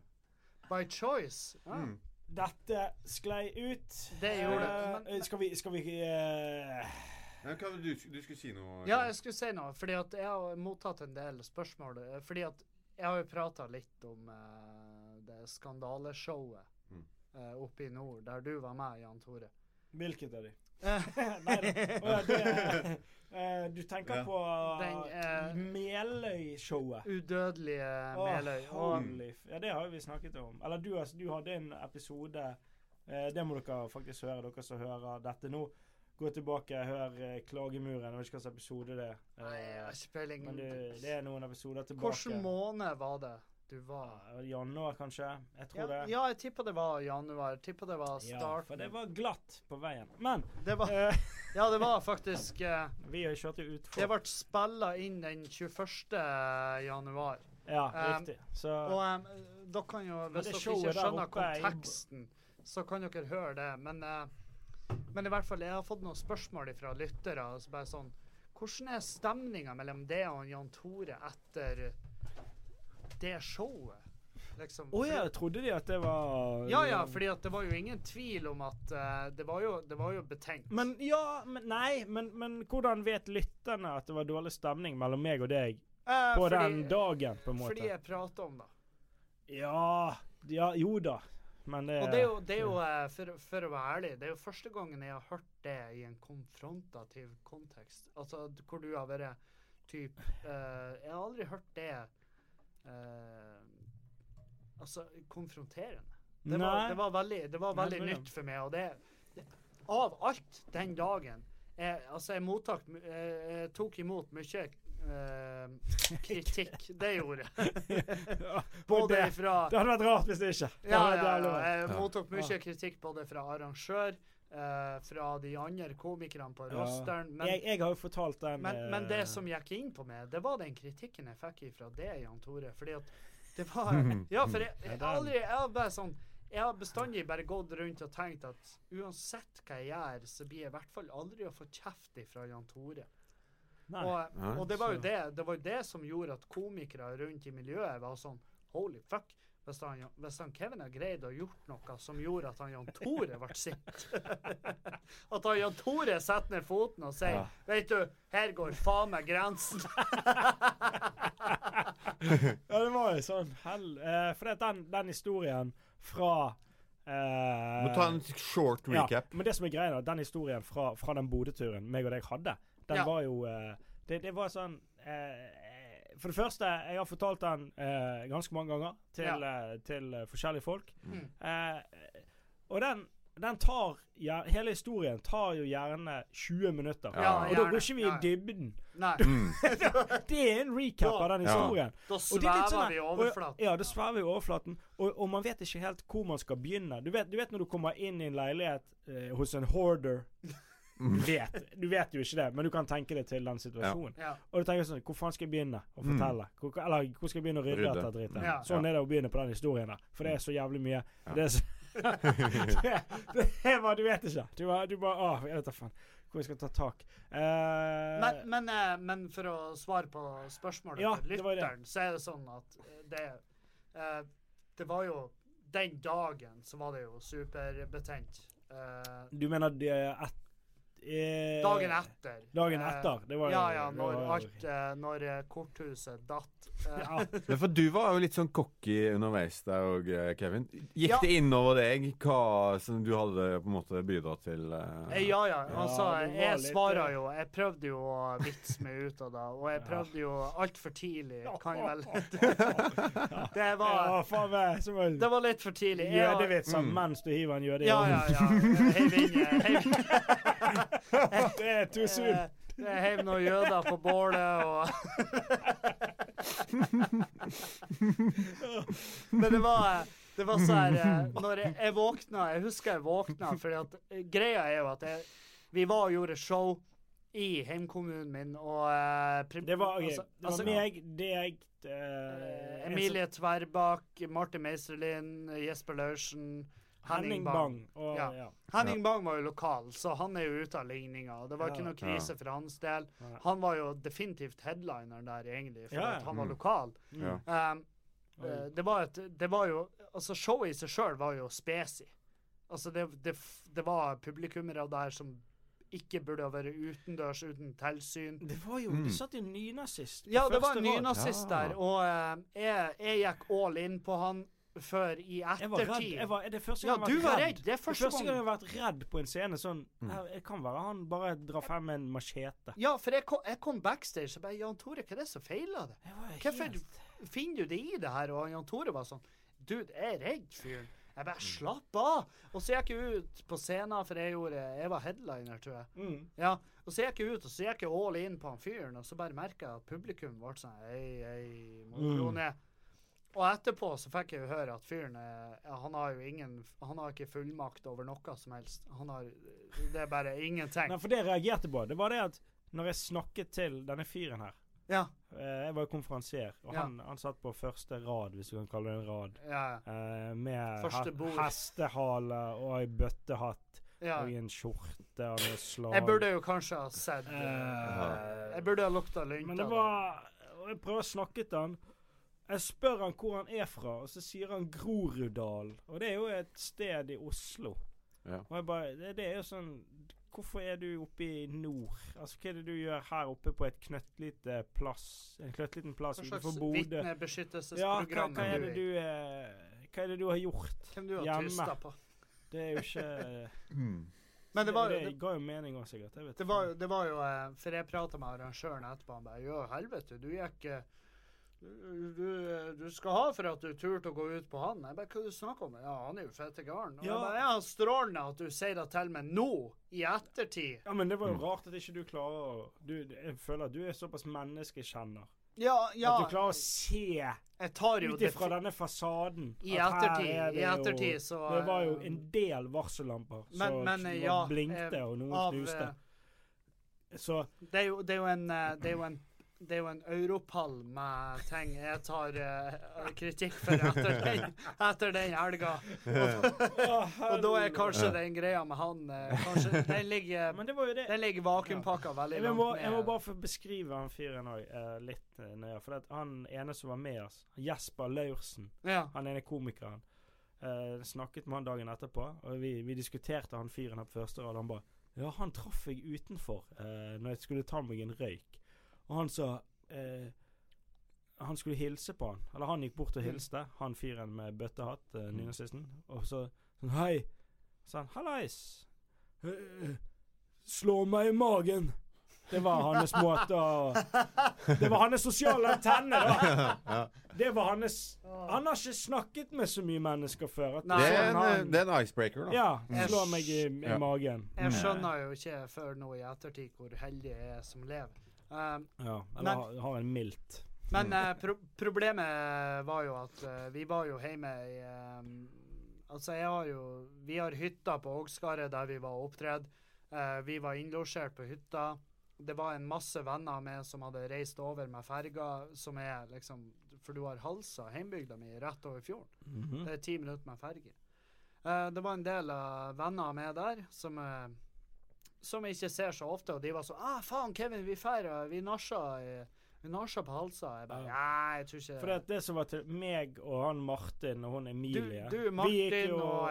By choice. Ja.
Mm.
Dette sklei ut.
Det gjorde det.
Eh, skal vi Skal vi eh,
Men hva var det du, du skulle si noe?
ja, jeg skulle si noe. Fordi at jeg har mottatt en del spørsmål. eh, Fordi at jeg har jo prata litt om eh, det skandaleshowet
Mm.
eh, oppe i nord, der du var med, Jan Tore.
Hvilket av de?
Eh,
Nei da. Å, det er- eh, Du tenker
Ja.
på
Den, eh,
Meløy-showet.
udødelige Meløy.
Åh,
Og
holy f- ja, det har jo vi snakket om. Eller du, har- du hadde en episode eh, Det må dere faktisk høre, dere som hører dette nå. Gå tilbake, hør eh, Klagemuren. Jeg vet ikke hvilken episode det er.
Nei, jeg
Eh,
har ikke peiling.
men det, det er noen episoder tilbake.
Hvilken måned var det du var?
Ja, Januar, kanskje? Jeg tror
Ja,
det.
ja, jeg tipper det var januar. Jeg tipper det var
Ja, for
starten.
det var glatt på veien. Men
det var
eh,
Ja, det var faktisk eh,
vi kjørte jo
Det
utfor.
ble spilla inn den 21. januar.
Ja,
Um,
riktig. Så
Og em, dere kan jo,
Men
hvis
det
dere
showet
ikke
der
skjønner
oppe er i-
konteksten, så kan dere høre det. Men, eh, men i hvert fall, jeg har fått noen spørsmål fra lyttere. og så bare sånn, Hvordan er stemninga mellom det og Jan Tore etter det showet? Liksom,
Å ja, trodde de at det var
Ja ja, fordi at det var jo ingen tvil om at eh, det, var jo, det var jo betenkt.
Men ja, men nei, men, men hvordan vet lytterne at det var dårlig stemning mellom meg og deg
Eh,
på
fordi-
den dagen, på en måte?
Fordi jeg prater om det.
Ja, ja Jo da. Men det,
Og det er jo, det er jo eh, for, for å være ærlig, det er jo første gangen jeg har hørt det i en konfrontativ kontekst. Altså d- hvor du har vært typ eh, Jeg har aldri hørt det eh, Altså konfronterende. Det var,
Nei.
det var veldig, det var
Nei,
veldig
det var det.
nytt for meg, og det, det Av alt den dagen jeg, Altså, jeg mottak m- eh, Jeg tok imot mye eh, kritikk. Det gjorde jeg.
Og
Både
det,
ifra
det hadde vært rart hvis det ikke. Det
ja,
hadde vært jævlig
ja, ja.
rart.
Jeg
Ja.
mottok mye kritikk både fra arrangør, eh, fra de andre komikerne på
Ja.
rosteren. Men,
jeg, jeg har jo fortalt den
men,
eh,
men det som gikk inn på meg, det var den kritikken jeg fikk ifra det, Jan Tore. Fordi at det var Ja, for jeg, jeg, har aldri, jeg har bare sånn jeg har bestandig bare gått rundt og tenkt at uansett hva jeg gjør, så blir jeg i hvert fall aldri å få kjeft ifra Jan Tore.
Nei.
Og,
Nei,
og det var jo
så-
det, det var jo det som gjorde at komikere rundt i miljøet var sånn Holy fuck. Hvis han, hvis han Kevin har greid å gjort noe som gjorde at han Jan Tore ble sint At han Jan Tore setter ned foten og sier
Ja.
Vet du, her går faen meg grensen.
Ja, det var jo sånn hell... eh, for det at den, den historien fra Eh,
Må ta en short recap.
Ja, men det som er greia, da, den historien fra, fra den Bodø-turen meg og deg hadde, den
Ja.
var jo eh, det, det var sånn eh, For det første, jeg har fortalt den eh, ganske mange ganger til, eh, til eh, forskjellige folk.
Mm.
Eh, og den, den tar ja, Hele historien tar jo gjerne 20 minutter.
Ja,
og da
gjerne.
går ikke vi
Ja, ja.
i dybden.
Nei,
Mm.
Det er en recap av den
Ja.
historien.
da
Og det er litt
svever
sånn
vi i
der- og-
overflaten.
Ja, det svever vi i overflaten. Og, og man vet ikke helt hvor man skal begynne. Du vet, du vet når du kommer inn i en leilighet eh, hos en hoarder du vet, du vet jo ikke det, men du kan tenke deg til den situasjonen.
Ja.
Og du tenker sånn Hvor faen skal jeg begynne å
Mm.
fortelle? Hvor, eller hvor skal jeg begynne å rydde
Rydde.
etter dritten?
Ja.
Sånn er det å begynne på den historien der. For det er så jævlig mye. Det er så det, det er bare, Du vet ikke. Du bare, du bare Å, jeg vet da faen hvor jeg skal ta tak. Eh,
Men, men, eh, men for å svare på spørsmålet
Ja,
til
det var det.
lytteren, så er det sånn at eh, det eh, Det var jo Den dagen så var det jo superbetent. Eh,
du mener det er et, eh,
dagen etter.
Dagen
eh,
etter. Det var jo-
ja, ja,
det
når,
var jo-
alt, eh, når eh, korthuset datt. Eh,
Ja.
Men for du var jo litt sånn cocky underveis der òg, Kevin. Gikk
Ja.
det innover deg hva som du hadde på en måte bidratt til? eh?
Eh, Ja, ja.
Ja,
Altså,
det var
jeg
litt,
svarer
eh,
jo Jeg prøvde jo å vitse meg ut av det, og jeg
Ja.
prøvde jo altfor tidlig, kan jeg vel
Ja.
Det var,
Ja, faen meg. Som en
det var litt for tidlig. Jeg-
jødevits
Mm.
mens du hiver en jøde i
Ja, ja,
ovnen.
ja. Heiv inn eh, heiv-
Det er too soon.
eh, Jeg heiv noen jøder på bålet og Men det var eh, det var så her eh, Når jeg, jeg våkna Jeg husker jeg våkna, fordi at eh, greia er jo at jeg, vi var og gjorde show i heimkommunen min, og eh, prim-
Det var, ok,
altså-
det var
altså-
meg, deg eh,
Eh,
en
Emilie Tverbakk, Marte Meiserlin, Jesper Laursen,
som-
Henning Bang.
Og,
Ja.
ja.
Henning Bang var jo lokal, så han er jo ute av ligninga. og Det var
Ja.
ikke noe krise for hans del.
Nei.
Han var jo definitivt headlineren der, egentlig, for
Ja, ja.
at han var
Mm.
lokal.
Ja.
Um,
Oi.
eh, det var et Det var jo Altså, showet i seg sjøl var jo spesi. Altså, det, det, f- det var publikummere der som ikke burde ha vært utendørs uten tilsyn.
Det var jo
Mm.
Det satt en nynazist. på
Ja, det var
første
en
rad.
nynazist
Ja.
der, og eh, jeg, jeg gikk all in på han før i
Jeg var redd.
ettertid.
Jeg var, er det første
ja,
gang
du
jeg
var
har vært
redd. Det er
Det er
første
første gang jeg
gang.
har vært redd på en scene sånn her, Det kan være han bare drar frem en machete.
Ja, for jeg kom, jeg kom backstage og bare Jan Tore, hva er det som feiler det?
Jeg var
Hvorfor
helt-
finner du det i det her? Og Jan Tore var sånn Dude, jeg er redd fyren.
Mm.
Jeg bare slapp av. Og så gikk jeg ut på scenen, for jeg gjorde Jeg var headliner, tror jeg.
Mm.
Ja, og så gikk jeg ut, og så gikk jeg all in på han fyren, og så bare merka jeg at publikum ble sånn Ei, ei, må du roe
Mm.
ned. Og etterpå så fikk jeg jo høre at fyren eh, ja, Han har jo ingen Han har ikke fullmakt over noe som helst. Han har Det er bare ingenting.
Nei, for det jeg reagerte på, det var det at når jeg snakket til denne fyren her
Ja.
eh, Jeg var jo konferansier, og
Ja.
han, han satt på første rad, hvis du kan kalle det en rad.
Ja,
eh, med
Første
he-
bord.
hestehale og ei bøttehatt
ja.
og i en skjorte og noe slag.
Jeg burde jo kanskje ha sett
Eh,
eh, Jeg burde ha lukta lunta.
Men det var og Jeg prøver å snakke til han. Jeg spør han hvor han er fra, og så sier han Groruddalen. Og det er jo et sted i Oslo.
Ja.
Og jeg bare det, det er jo sånn Hvorfor er du oppe i nord? Altså, hva er det du gjør her oppe på et knøttlite plass? En knøttliten plass
Hva
utenfor
slags
Bodø? Ja, hva,
vitnebeskyttelsesprogram
hva
er
er
du
det
i?
du eh, Hva er det du har gjort?
Hvem du har
Hjemme.
tysta på?
Det er jo ikke
Mm.
Men det var
det,
jo
ga jo mening òg, sikkert. Jeg vet
Det var, jo- det var jo eh, For jeg prata med arrangøren etterpå. Han bare Ja, helvete, du gikk eh, du, du, du skal ha for at du turte å gå ut på han. Jeg bare, hva du snakker om? Ja, han er jo fette gæren. Og jeg
Ja.
bare, Ja, strålende at du sier det til meg nå, i ettertid.
Ja, men det var
Mm.
jo rart at ikke du klarer å du, Jeg føler at du er såpass menneskekjenner.
Ja, ja.
At du klarer å se
Jeg tar jo
ut
det
ifra denne fasaden.
I
at her
ettertid-
er det
i
jo-
ettertid så,
Det var jo
eh,
en del varsellamper
men-
som
men,
som
ja,
blinkte,
eh,
og noen
av
knuste.
eh,
Så
Det er jo, det er jo en eh, Det er jo en det er jo en europall med ting jeg tar eh, kritikk for etter den, etter den helga. Og da er kanskje den greia med han eh, kanskje, Den ligger,
Men det var jo det.
den ligger vakuumpakka veldig
Jeg
langt
må,
ned.
jeg må bare få beskrive han fyren òg eh, litt eh, nøye. For at han ene som var med oss, Jesper Laursen
ja.
Han ene komikeren. eh, snakket med han dagen etterpå, og vi, vi diskuterte han fyren her på første rad. Han bare Ja, han traff jeg utenfor eh, når jeg skulle ta meg en røyk. Og han sa eh, Han Mm. skulle hilse på han. Eller han gikk bort og hilste, han fyren med bøttehatt, uh, eh, nynazisten. Og så Sånn, Hei. Så han, hallais. «Øh, Slå meg i magen. Det var hans måte å Det var hans sosiale antenne, da. Det var hans Han har ikke snakket med så mye mennesker før. At
Nei.
Det
Sånn
er
han-
en, eh, det er en icebreaker, da.
Ja.
Mm.
Slå meg i, i
Ja.
magen.
Jeg skjønner jo ikke før nå i ettertid hvor heldig jeg er som lever. Um,
Ja.
Nei.
Eller ha- ha en mildt.
men eh, pro problemet var jo at eh, vi var jo hjemme i ehm, Altså, jeg har jo Vi har hytta på Ågskaret der vi var opptredd. Eh, vi var innlosjert på hytta. Det var en masse venner av meg som hadde reist over med ferga, som er liksom For du har Halsa, heimbygda mi, rett over fjorden.
Mhm.
Det er ti minutter med ferge. Eh, det var en del av venner av meg der som, eh, som jeg ikke ser så ofte, og de var sånn ah, 'Faen, Kevin, vi feirer, vi nasja, i- vi nasja på halsa.' Jeg bare
Ja.
Nei, jeg tror ikke
For det, at det som var til meg og han Martin og hun Emilie vi
Du- du,
gikk
Martin og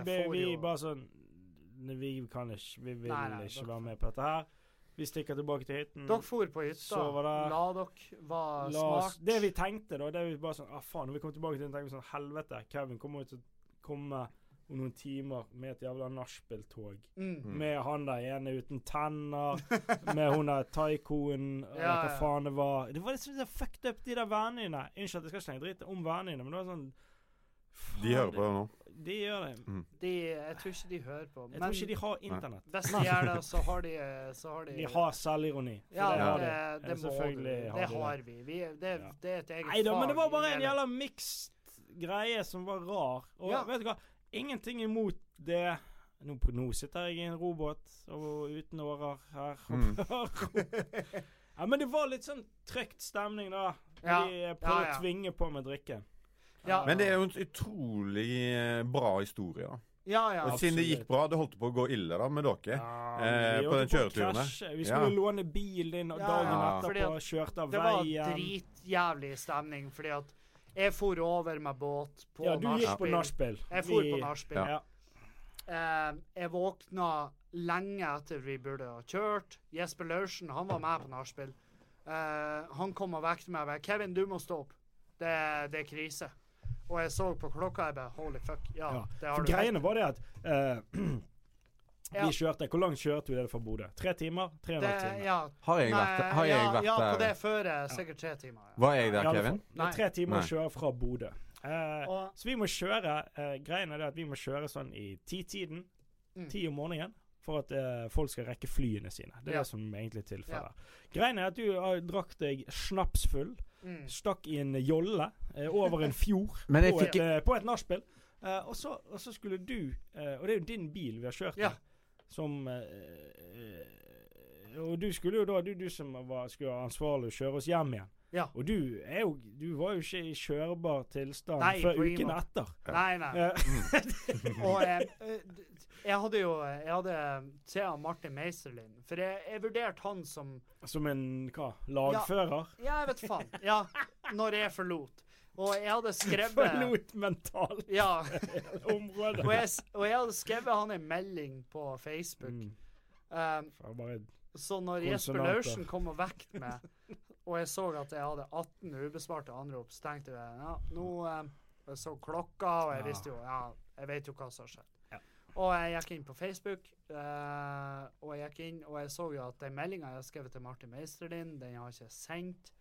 Vi, ble-
får
vi
jo-
bare sånn "Ne, Vi kan ikke Vi vil
Nei, nei,
ikke
dere-
være med på dette her. Vi stikker tilbake til hytten.
Dere for på hytta.
Sover der.
La dere var
La oss,
smart.
det vi tenkte, da, det vi bare sånn ah, faen, Når vi kom tilbake til den, tenkte vi sånn Helvete, Kevin kommer jo til å komme om noen timer med et jævla nachspiel-tog.
Mm.
Hmm.
Med han der ene uten tenner, med hun der taikoen, eller
Ja,
hva
ja.
faen det var. Det var liksom så fucked up, de der vennene dine. Unnskyld at jeg skal slenge dritt om vennene dine, men det var sånn faen,
De hører på det nå.
De gjør det.
De, jeg tror ikke de hører på.
Jeg tror ikke de har internett.
hvis de gjør det, så har de eh, Så har de,
De har selvironi. for
Ja,
det har de.
det, det,
Ja,
må du.
selvfølgelig har
Det
de det.
har vi. vi det,
Ja.
det er et eget
Nei da, men det var
fag i
bare en
hele-
jævla mixed greie som var rar. Og
Ja.
vet du hva, ingenting imot det. Nå, på- nå sitter jeg i en robåt og uten årer her.
Mm.
ja, men det var litt sånn trygt stemning, da.
Ja.
De eh, prøvde
Ja, ja.
å tvinge på med drikke.
Ja.
Men det er jo en utrolig eh, bra historie, da.
Ja, ja.
Og siden det gikk
absolutt.
bra, det holdt på å gå ille da med dere. Eh,
vi
på
holdt
den
å
kjøreturen der.
krasje. Vi skulle
Ja.
låne bilen din, og
Ja,
dagen
ja.
Fordi
etterpå
at
kjørte av
Det var
veien.
dritjævlig stemning, fordi at jeg for over med båt på
Ja, du gikk på
nachspiel.
nachspiel.
Jeg for på
Vi-
Ja.
nachspiel.
Ja.
Eh, jeg våkna lenge etter vi burde ha kjørt. Jesper Laursen, han var med på nachspiel. Eh, han kom og vekket meg. og bare, 'Kevin, du må stå opp. Det, det er krise.' Og jeg så på klokka, jeg bare 'Holy fuck'. Ja,
Ja,
det
For
har du
greiene
rett i.
var det at eh,
Ja.
Vi kjørte, Hvor langt kjørte vi det fra Bodø? Tre timer? Tre og en
Det,
halv time?
ja,
Har jeg vært
nei,
der? Har jeg
ja,
vært
ja, på det
der?
føret. Sikkert tre timer. Ja.
Var jeg
I
der,
alle
Kevin?
fall. Det er tre timer
Nei.
å kjøre fra Bodø. Eh,
Og,
så vi må kjøre eh, Greien er det at vi må kjøre sånn i ti-tiden.
Mm.
Ti om morgenen. For at eh, folk skal rekke flyene sine. Det er
Ja.
det som egentlig er tilfellet. Greien er at du har drakk deg snapsfull.
mm.
Stakk i en jolle eh, over en fjord
Men jeg
på,
fikk
et, eh, på et nachspiel. Eh, og, så, og så skulle du eh, Og det er jo din bil vi har kjørt i,
Ja.
som eh, eh, Og du skulle jo da Du, du som var, skulle være ansvarlig å kjøre oss hjem igjen.
Ja.
Og du, er jo, du var jo ikke i kjørbar tilstand
Nei,
før
på ingen
uken
måte.
etter.
Nei, nei.
Eh,
Og jeg, jeg hadde jo eh, Jeg hadde Thea Martin Meiserlin, for jeg, jeg vurderte han som
som en hva? Lagfører?
Ja, jeg vet faen. Ja, når jeg forlot. Og jeg hadde skrevet
Forlot mentalt
Ja.
område.
Og jeg, s- og jeg hadde skrevet han en melding på Facebook.
Mm,
Um,
faen, bare
så når Jesper
Konsonanter.
Laursen kom og vekket meg, og jeg så at jeg hadde 18 ubesvarte anrop, så tenkte jeg ja, nå um, Jeg så klokka, og jeg
Ja.
visste jo Ja, jeg vet jo hva som har skjedd.
Ja.
Og jeg gikk inn på Facebook, eh, og jeg gikk inn, og jeg så jo at den meldinga jeg har skrevet til Martin Meisterlin, den har jeg ikke sendt.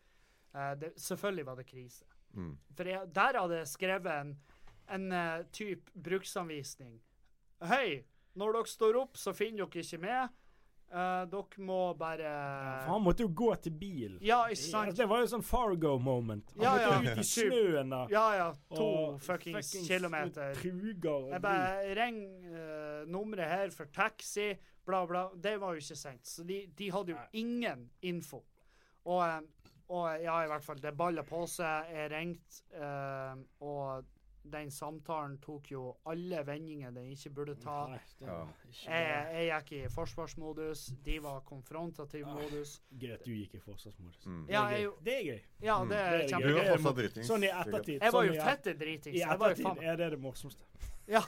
Eh, det, selvfølgelig var det krise.
Mm.
For jeg, der hadde jeg skrevet en, en eh, typ bruksanvisning. Hei, når dere står opp, så finner dere ikke med. Eh, dere må bare
For han måtte jo gå til bil.
Ja, ikke sant?
Det var jo sånn Fargo-moment. Han
Ja,
måtte
ja.
ut i
Typ.
snøen der.
Ja, ja. To
og
fuckings
fuckings
kilometer.
Truger og
Jeg bare ring eh, nummeret her for taxi, bla, bla. Det var jo ikke sendt. Så de, de hadde jo
Nei.
ingen info. Og, eh, og ja, i hvert fall, det balla på seg. Jeg ringte, eh, og den samtalen tok jo alle vendinger den ikke burde ta.
Nei, det
Ja.
var ikke
Jeg, jeg gikk i forsvarsmodus, de var konfrontativ
Ah.
modus.
bra. Gøy at du gikk i forsvarsmodus.
Mm.
Det er
Ja, jeg,
gøy.
jo-
det er gøy.
ja det
Mm. det
er
er
Du
gøy.
kjempegøy.
var
Jeg
fortsatt dritings.
Sånn i
sikkert.
ettertid.
Jeg var
sånn
jo
i et-
fette dritings.
I
Jeg var jo
ettertid
faen
er det det morsomste.
Ja.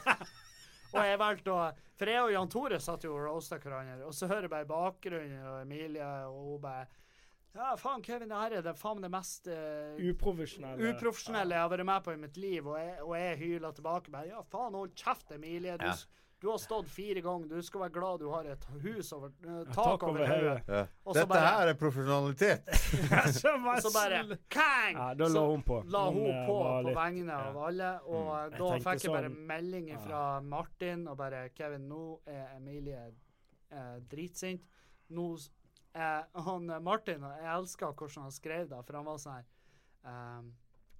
Og jeg valgte å For jeg og Jan Tore satt jo og roasta hverandre, og så hører jeg bare i bakgrunnen og Emilie, og hun bare Ja, faen, Kevin, det her er det faen meg det mest eh,
Uprofesjonelle.
uprofesjonelle jeg har vært med på i mitt liv, og jeg, og jeg hyler tilbake bare Ja, faen, hold kjeft, Emilie. Du,
Ja.
s- du har stått fire ganger. Du skal være glad du har et hus over eh, tak,
tak
over
over
hodet.
hodet.
Ja.
Og så
Dette
bare-
her er profesjonalitet.
Og så bare Kang!
Ja, da la hun på.
la hun
eh,
på
var
på
litt- Mm.
vegne av alle, og eh,
Jeg
da
tenkte
fikk jeg bare
sånn-
melding fra Martin og bare Kevin, nå er Emilie eh, dritsint. Nå s- eh, han eh, Martin, og jeg elsker hvordan han skrev det, for han var sånn her ehm,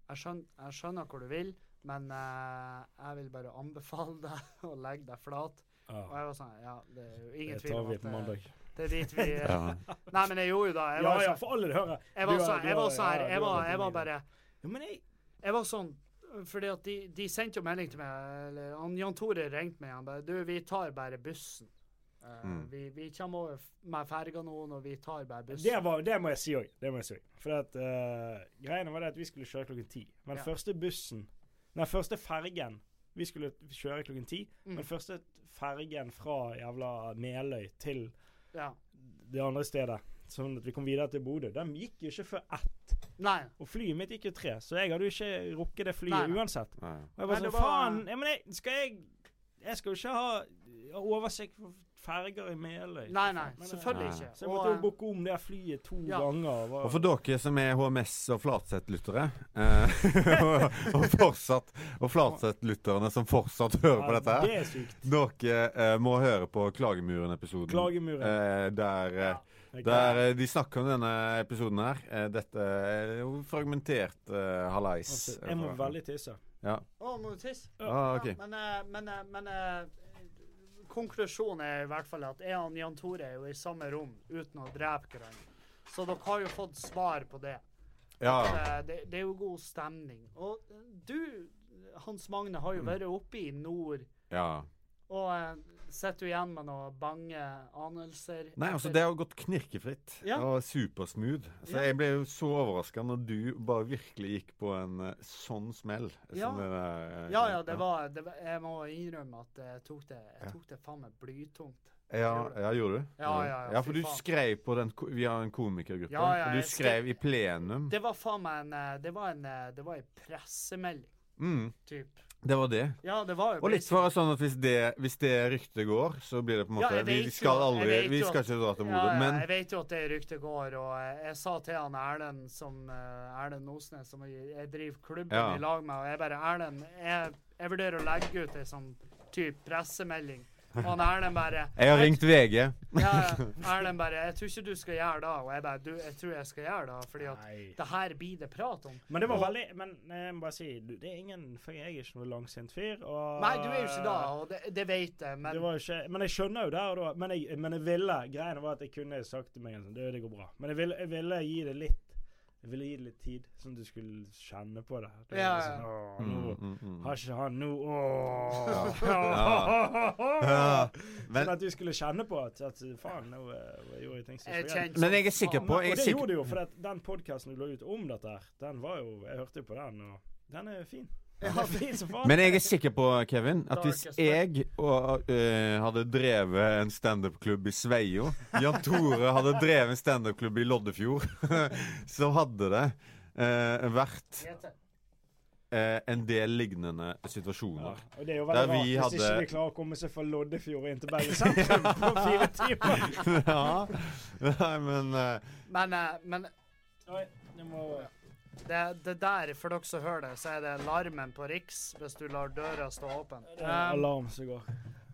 jeg, skjønner, jeg skjønner hvor du vil, men eh, jeg vil bare anbefale deg å legge deg flat. Og
Ja,
jeg var sånn Ja, det er jo ingen
det
tvil
tar
om
vi
at
på
det,
mandag.
det er dit vi
Ja.
Nei, men jeg gjorde jo det. Jeg
Ja,
var
ja,
sånn
for alle det hører. Du
jeg var
har-
sånn
du
jeg
har-
var sånn her,
ja, du
jeg
har vært
var- jeg
inne i
var
det.
bare
Ja, men jeg
jeg var sånn fordi at de, de sendte jo melding til meg eller, han, Jan Tore ringte meg. Han bare Du, vi tar bare bussen. Eh,
Mm.
vi, vi kommer over f- med ferga nå, og vi tar bare bussen.
Det, var, det må jeg si òg. Det må jeg si. For at, eh, greiene var det at vi skulle kjøre klokken ti. Men
Ja.
første bussen Nei, første fergen Vi skulle kjøre klokken ti,
Mm.
men første fergen fra jævla Meløy til
ja.
det andre stedet, sånn at vi kom videre til Bodø, den gikk jo ikke før ett.
Nei.
Og flyet mitt gikk jo tre, så jeg hadde jo ikke rukket det
Nei,
flyet
nei.
uansett.
Ja.
Og jeg
Nei,
var
det
sånn
var-
Faen! Ja, men jeg, skal jeg Jeg skal jo ikke ha ha oversikt for ferger i Meløy.
Nei, nei.
Men, eh,
Selvfølgelig
Nei.
ikke.
Så jeg
Og,
måtte jo
eh,
booke om det flyet to
ja.
ganger. var-
Og for dere som er HMS- og Flatseth-lyttere, eh, og, og fortsatt Og Flatseth-lytterne som fortsatt hører på
Ja,
dette her,
Det er sykt.
dere eh, må høre på Klagemuren-episoden.
Klagemuren.
Eh, der eh,
Ja.
der eh, de snakker om denne episoden her. Eh, dette er jo fragmentert eh, halais.
Altså, jeg må veldig tisse.
Ja.
eh, Å, må du tisse?
Ah, ok.
Ja, men eh, men, eh, men eh, konklusjonen er i hvert fall at jeg og Jan Tore er jo i samme rom uten å drepe hverandre. Så dere har jo fått svar på det.
Ja.
Eh, Det, det er jo god stemning. Og eh, du, Hans Magne, har
Mm.
jo vært oppe i nord,
ja.
og eh, sitter du igjen med noen bange anelser?
Nei, altså,
etter-
det har gått knirkefritt
Ja.
og supersmooth. Så
Ja.
jeg ble jo så overraska når du bare virkelig gikk på en eh, sånn smell. som
Ja.
den der, eh,
Ja, ja, det var, det var Jeg må innrømme at jeg tok det, jeg tok det faen meg blytungt.
Ja,
Gjorde
ja gjorde du?
Ja, ja, ja,
ja
fy
for du
faen.
skrev på den ko- Vi har en komikergruppe.
Ja, ja,
og du
jeg
skrev
skrev-
i plenum.
Det var faen meg en eh, Det var en, eh, det var en pressemelding,
Mm,
typ.
det var det.
Ja, det var jo
Og litt for sånn at hvis det, hvis det ryktet går, så blir det på en
Ja,
måte
jeg vet
Vi
jo-
skal aldri
jeg vet
Vi
jo
skal
at-
ikke dra til
ja,
Bodø,
ja,
men
jeg vet jo at det ryktet går, og jeg, jeg sa til han Erlend som eh, Erlend Osnes, som jeg, jeg driver klubben
Ja.
i lag med, og jeg bare Erlend, jeg, jeg vurderer å legge ut ei sånn type pressemelding. Og han Erlend bare
Jeg har ringt VG.
Ja, ja, Erlend bare Jeg tror ikke du skal gjøre det. Og jeg bare du, Jeg tror jeg skal gjøre det, fordi at
Nei.
det her blir det prat om.
Men det var veldig Men eh, jeg må bare si du, Det er ingen For jeg er ikke noe langsint fyr. Og,
Nei, du er jo ikke da, og det, det vet jeg,
det
men
var jo ikke, men jeg skjønner jo der og da. Men jeg, men jeg ville Greia var at jeg kunne sagt til meg en sånn Det, det går bra. Men jeg ville, jeg ville gi det litt Jeg ville gi det litt tid, sånn at du skulle kjenne på det. det var
Ja, ja.
sånn, åh,
Mm,
nå
mm, mm.
Har ikke han nå Åh!
Ja, men,
Sånn at du skulle kjenne på at, at faen, nå eh, gjorde jeg ting som ikke
jeg
var greit.
kjenner
men jeg er sikker
Ja,
på
men-
jeg er
og det
sikker,
gjorde det jo, for at den podkasten du la ut om dette her, den var jo Jeg hørte jo på den, og den er jo fin. Den er fin som faen.
Men jeg er sikker på, Kevin, at hvis
Darkest
jeg og, eh, hadde drevet en standup-klubb i Sveio Jan Tore hadde drevet en standup-klubb i Loddefjord, så hadde det eh, vært eh, en del lignende
Ja,
situasjoner.
og det er jo
Der
veldig rart
vi
hvis
hadde-
ikke vi klarer å komme seg fra Loddefjord inn til Bergen sentrum på fire timer.
Ja, Nei, men eh,
Men, eh, men
Oi, det må...
det, det der, for dere som hører det, så er det larmen på Riks hvis du lar døra stå åpen.
Det er en
Um,
alarm som går.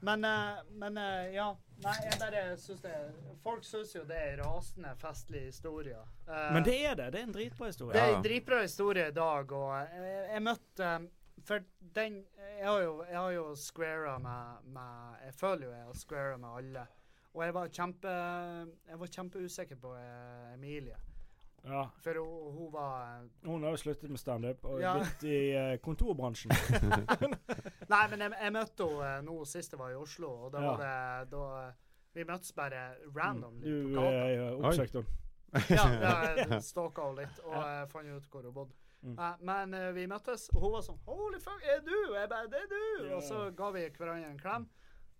men, eh, men eh, ja. Nei, jeg bare syns det Folk syns jo det er rasende festlige historier. Eh,
Men det er det. Det er en dritbra
Det
historie.
er
Ja.
en dritbra historie i dag, og jeg, jeg møtte um, For den Jeg har jo, jeg har jo squara med, med Jeg føler jo jeg har squara med alle. Og jeg var kjempe Jeg var kjempeusikker på eh, Emilie,
Ja.
for hun, hun var
Hun har jo sluttet med standup og
Ja.
blitt i eh, kontorbransjen.
Nei, men jeg, jeg møtte henne eh, nå sist jeg var i Oslo, og da
Ja.
var det da eh, Vi møttes bare randomly
Du
på gata.
eh, oppsøkte henne.
Ja, jeg stalka henne litt, og jeg fant ut hvor hun bodde.
Mm.
Eh, men eh, vi møttes, og hun var sånn 'Holy fuck, er du?' Og jeg bare 'Det er du!' Og så ga vi hverandre en klem.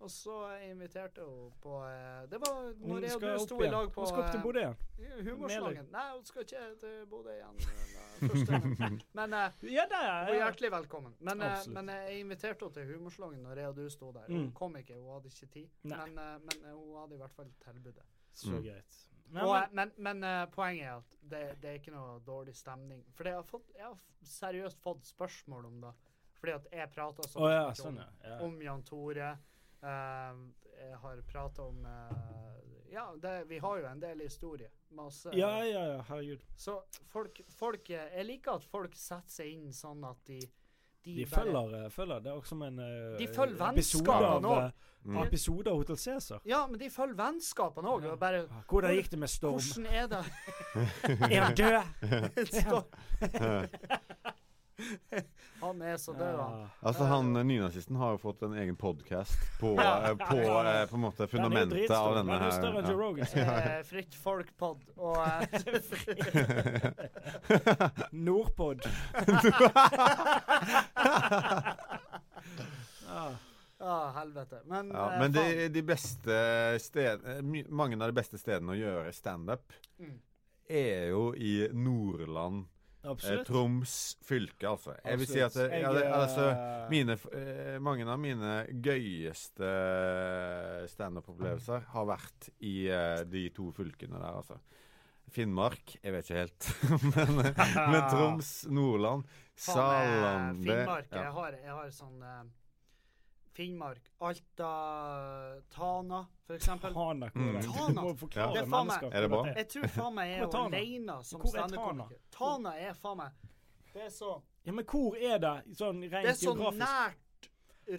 Og så inviterte hun på eh, Det var
Hun
når jeg og
skal
du
opp
sto i
igjen.
lag på
Hun skal opp til
eh,
Bodø igjen.
Humorslangen. Nei, hun skal ikke til Bodø igjen. eh, første gang. Men eh,
Ja, der
hun er
er
hjertelig velkommen. Men, eh,
Absolutt.
men eh, jeg inviterte henne til Humorslangen når jeg og du sto der. Hun
Mm.
kom ikke, hun hadde ikke tid.
Nei.
Men, eh, men eh, hun hadde i hvert fall tilbudet.
Så
Mm.
greit.
Men,
Men,
og, eh,
men,
men, men eh, poenget er at det, det er ikke noe dårlig stemning. For det jeg har fått, jeg har f- seriøst fått spørsmål om det. Fordi at jeg prater så
å ja,
mye om,
sånn, ja. ja.
om Jan Tore. Eh, jeg har prata om eh, Ja, det, vi har jo en del historie. Masse
Ja, ja, ja, herregud.
Så folk, folk eh, Jeg liker at folk setter seg inn sånn at de De,
De
bare-
følger, eh, følger. Det er også som en eh,
De følger
episode av,
vennskapene også.
eh,
Mm.
episode av Hotel Cæsar.
Ja, men de følger vennskapene òg.
Ja.
Og bare
Ah, Hvordan gikk det med Storm?
Hvordan er det?
Er han død?
Stå- han er så død, han.
Ah,
Altså, han eh, nynazisten har jo fått en egen podkast på, eh, på, eh, på en måte
den er jo
fundamentet
dritstor.
av denne
Den er
her.
jo større enn Joe
ja.
Rogan.
Eh, fritt folk-pod. Og eh,
Nordpod. ah,
Ja, helvete. Men,
Ja,
eh,
men
faen.
de, de beste sted, eh, my- mange av de beste stedene å gjøre standup
Mm.
er jo i Nordland, eh,
absolutt.
Troms fylke, altså. Jeg vil si at
Absolutt.
eh, ja,
Jeg,
det,
eh,
altså, mine, f- eh, mange av mine gøyeste eh, standup-opplevelser har vært i eh, de to fylkene der, altså. Finnmark Jeg vet ikke helt. men, eh, men Troms, Nordland,
Faen, eh,
Salande
Finnmark.
ja.
Jeg, har, jeg har sånn eh, Finnmark, Alta, Tana, for eksempel.
Tana.
Mm.
Du må forklare
Det er faen meg-
mennesker.
Er det bra?
Jeg tror faen meg jeg
Hvor er
er
Tana?
alene som
Hvor er Tana?
standup-komiker. Tana er faen meg Det er så,
Ja, men hvor er det sånn rent
det er så
geografisk?
nært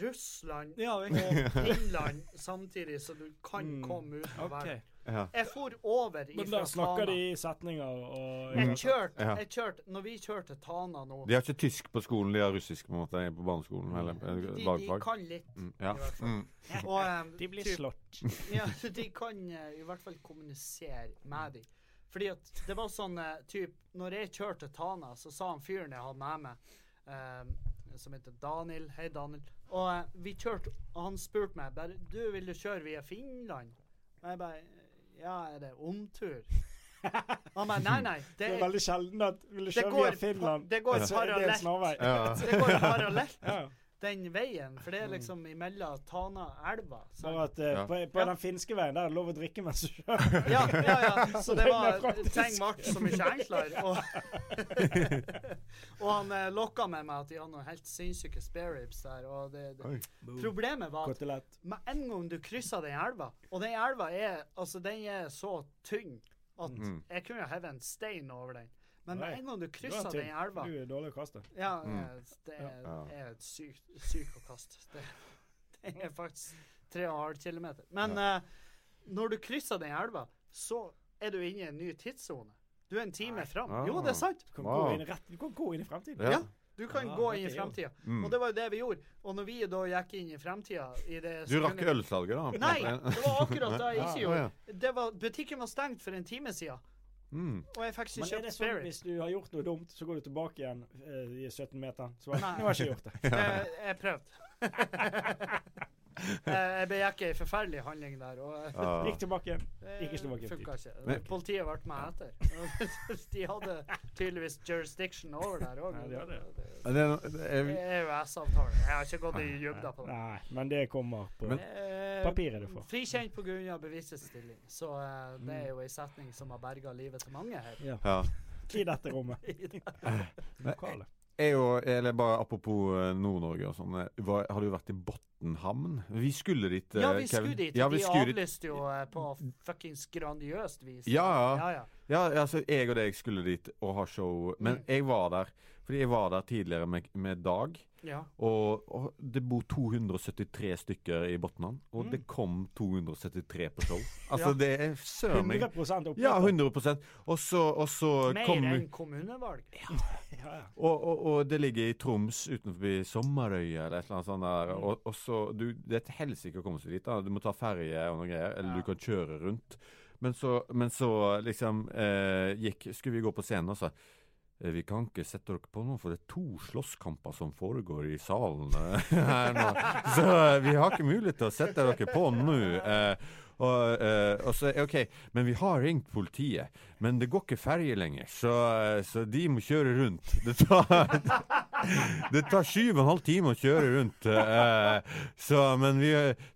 Russland
Ja,
og Finland samtidig, så du kan
Mm.
komme ut av
OK.
verden.
Ja.
Jeg for over
Men
ifra
da snakker
Tana.
de i setninger og
Mm.
Jeg kjørte,
Ja.
jeg kjørte, når vi kjørte Tana nå
De har ikke tysk på skolen, de har russisk på en måte på
Mm.
barneskolen. Eller
de,
eh,
de
lagfag.
kan litt.
Mm, ja.
i hvert fall.
Mm.
Og, eh,
De blir
typ-
slått.
Ja, de kan eh, i hvert fall kommunisere med dem. Fordi at det var sånn eh, typ, Når jeg kjørte Tana, så sa han fyren jeg hadde med meg, eh, som heter Daniel Hei, Daniel. Og eh, vi kjørte, og han spurte meg bare Du, vil du kjøre via Finland? Og jeg bare Ja, er det omtur? Han bare Nei, nei.
Det
Det,
er
er,
veldig sjelden at vil du
det
kjøre via
går,
Finland.
det går
så er det en
parallelt.
snarvei.
Ja.
Det går parallelt,
Ja.
den veien. For det er liksom
Mm.
imellom Tana-elva. sant?
Bare at eh,
Ja.
på, på den finske veien der er det lov å drikke mens du kjører.
Ja, ja, ja.
Så
Så det
den er
var
praktisk.
Teng Mart som ikke er enklere. Og, og han eh, lokka med meg at de hadde noen helt sinnssyke spareribs der. Og det, det.
Oi.
Problemet var at
Kotelett.
med en gang du krysser den elva Og den elva er, altså, den er så tynn at
Mm.
jeg kunne heve en stein over den. Men
Nei.
med en gang du
Du er
krysser
tynn.
den elva
Du er dårlig å kaste.
Ja,
Mm.
eh, det er,
Ja.
er et sykt, sykt å kaste. Det, det er faktisk 3,5 km. Men eh, når du krysser den elva, så er du inne i en ny tidssone. Du er en time fram.
Ah.
Jo, det er sant!
Du kan,
Wow.
gå, inn i rett, du kan gå inn i fremtiden.
Ja.
Ja. Du kan
Ah,
gå
dette
inn i
er jo-
fremtida.
Mm.
Og det var jo det vi gjorde. Og når vi da gikk inn i fremtida i det
Du rakk
sekundet-
ølsalget, da? på en
Nei!
måte.
Det var akkurat det jeg
Ah,
ikke
Å,
gjorde.
ja.
Det var, butikken var stengt for en time siden,
Mm.
og jeg fikk ikke
Men er det
kjøpt
sånn
Spirit.
hvis du har gjort noe dumt, så går du tilbake igjen eh, i 17 meter? Så bare,
Nei.
nå har jeg ikke gjort det.
Eh, jeg prøvde. Eh, jeg begikk ei forferdelig handling der. Og eh,
Ja.
Gikk tilbake igjen. Ikke
Det
Slovakia.
Funka ikke.
Nei.
Politiet ble med etter. De hadde tydeligvis jurisdiction over der òg.
Nei, de hadde
Det er no- det er-
Eh. EØS-avtale. Jeg har ikke gått i dybden på det.
Nei, men det kommer på
Men-
Eh,
papiret du får.
Frikjent pga. bevisets stilling. Så eh, det er jo en setning som har berga livet til mange her.
Ja.
I dette rommet.
Men-
Lokale.
Jeg og, eller bare apropos eh, Nord-Norge og sånn. eh, hva- Har du vært i Botnhamn? Vi skulle dit, eh,
Ja, vi
Kevin.
skulle dit.
Ja, vi
de
skulle dit.
avlyste jo eh, på fuckings grandiøst vis.
Ja, ja.
ja, ja.
Ja, altså, jeg og deg skulle dit og ha show. Men
Mm.
jeg var der fordi jeg var der tidligere med, med Dag.
ja.
Og, og det bor 273 stykker i Botnhamn, og
Mm.
det kom 273 på show. Altså,
Ja.
det er søren
100
meg
oppmøte.
Ja, 100 Og så, og så
Mer
kom
enn kommunevalg.
Ja, ja.
og, og, og det ligger i Troms utenfor Sommerøya eller et eller annet sånt der.
Mm.
Og, og så du, Det er et helsike å komme seg dit. da Du må ta ferje og noe greier, eller
Ja.
du kan kjøre rundt. Men så, men så liksom eh, gikk Skulle vi gå på scenen, og så eh, Vi kan ikke sette dere på noe, for det er to slåsskamper som foregår i salen eh, her nå. Så eh, vi har ikke mulighet til å sette dere på nå. eh, og, eh, og så, OK, men vi har ringt politiet. Men det går ikke ferje lenger, så, eh, så de må kjøre rundt. Det tar, det tar syv og en halv time å kjøre rundt. eh, så, men vi,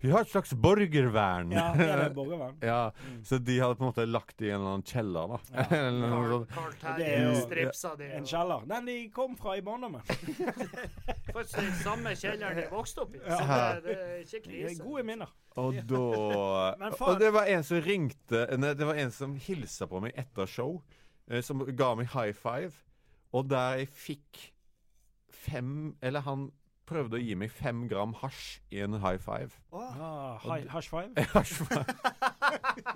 vi har et slags borgervern.
Ja, det er det borgervern.
Ja, så de hadde på en måte lagt det i en eller annen kjeller, da. eller noe
Carl,
sånt.
Carl
Det er
Terje
jo-
stripsa de.
En kjeller. Den de kom fra i barndommen.
Faktisk den samme kjelleren de vokste opp i. Så
Ja.
det, det er ikke
Det er
krise.
Gode minner.
Og da
Men faen-
Og det var en som ringte Nei, det var en som hilsa på meg etter show, eh, som ga meg high five, og der jeg fikk fem Eller han prøvde å gi meg fem gram hasj i en high five.
Ah, hi- Hush five.
Hasj var-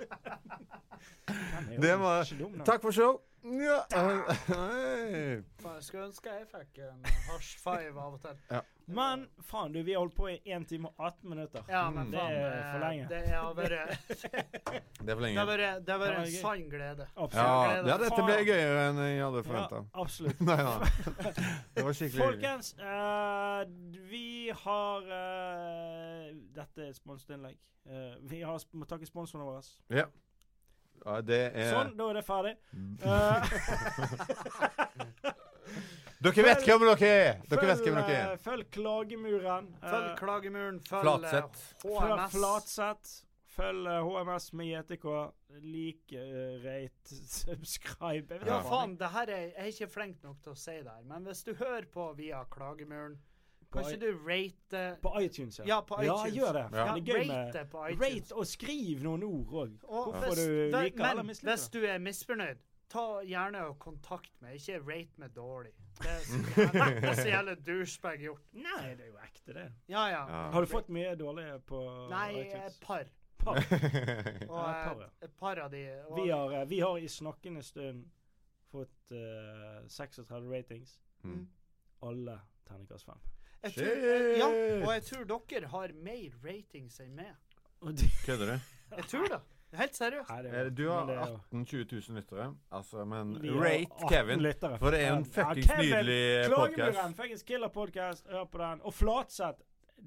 Den er jo
Det var-
ikke dum, den.
Takk for show! Ja. Hei.
Faen, Skulle ønske jeg fikk en hasj five av og til.
Men faen, du, vi har holdt på i 1 time og 18 minutter.
Ja, men
Mm.
Det
faen.
er for
eh,
lenge.
Det har vært
Det er for
det har
lenge.
vært- det har vært en
Det var
sann glede.
Absolutt.
Ja, ja, dette ble gøyere enn jeg hadde
Ja,
forventa.
absolutt.
Nei da. Det var skikkelig
Folkens, eh, vi har eh, Dette er et sponsorinnlegg. Eh, vi har sp- må takke sponsorene våre.
ja, Mm. Det er
Sånn, da er det ferdig. Eh,
Dere vet hvem dere er! Dere vet
følg,
hvem dere
eh,
er.
Følg Klagemuren. eh,
Følg Klagemuren, følg
Flatseth.
eh,
Fra
HMS.
Flatseth. Følg eh, HMS med JTK. Lik, eh, rate, subscribe Jeg vet
Ja,
ikke.
faen, det her er, jeg er ikke flink nok til å si det her, men hvis du hører på via Klagemuren, kan
På i-
ikke du rate
På iTunes, ja.
Ja, på iTunes.
gjør det.
Ja.
for Det er gøy
rate
med
det på iTunes.
Rate og skriv noen ord òg.
Og
Hvorfor
hvis,
du
ve-
liker eller
men
misliker.
hvis du er misfornøyd, ta gjerne og kontakt meg. Ikke rate meg dårlig. Det er så jævlig, det er så jævlig douchebag gjort.
Nei, det er jo ekte, det.
Ja, ja.
Ja.
Har du fått mye dårlige på
Nei, eh,
iTunes?
et par.
Par.
Og
Ja, par,
et, et par av de. Og,
Vi har, eh, vi har i snakkende stund fått eh, 36 ratings.
Mm.
Alle terningkast 5.
jeg tror, ja, og jeg tror dere har mer ratings enn meg.
Kødder du?
Jeg tror det. Helt seriøst.
Eh, Du har
men det er jo-
18 000-20 000 lyttere, altså, men
Vi har
rate
18
Kevin.
lyttere.
For det er en
Ja,
fuckings
Kevin,
nydelig eh,
Klagemuren,
podkast.
fuckings killer podcast. Hør på den. Og Flatseth.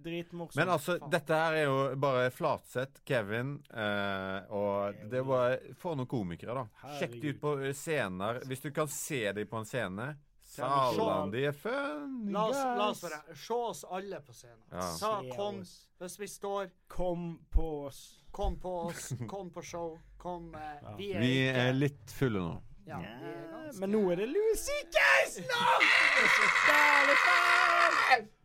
Dritmorsom.
Men altså,
Faen.
dette her er jo bare Flatseth, Kevin eh, Og det er bare Få noen komikere, da. Sjekk de ut på eh, scener. Hvis du kan se dem på en scene.
vi se-
Salan, de er fun!
La oss, la oss
guys.
være Se oss alle på scenen.
Ja.
Ta,
Se
kom,
oss.
hvis vi står,
Kom på oss.
kom på oss, kom på show, kom eh,
Ja.
Vi er
Vi
ikke
er litt fulle nå.
ja, vi er
Ja,
ganske-
Men nå er det Lucy Case! Nå!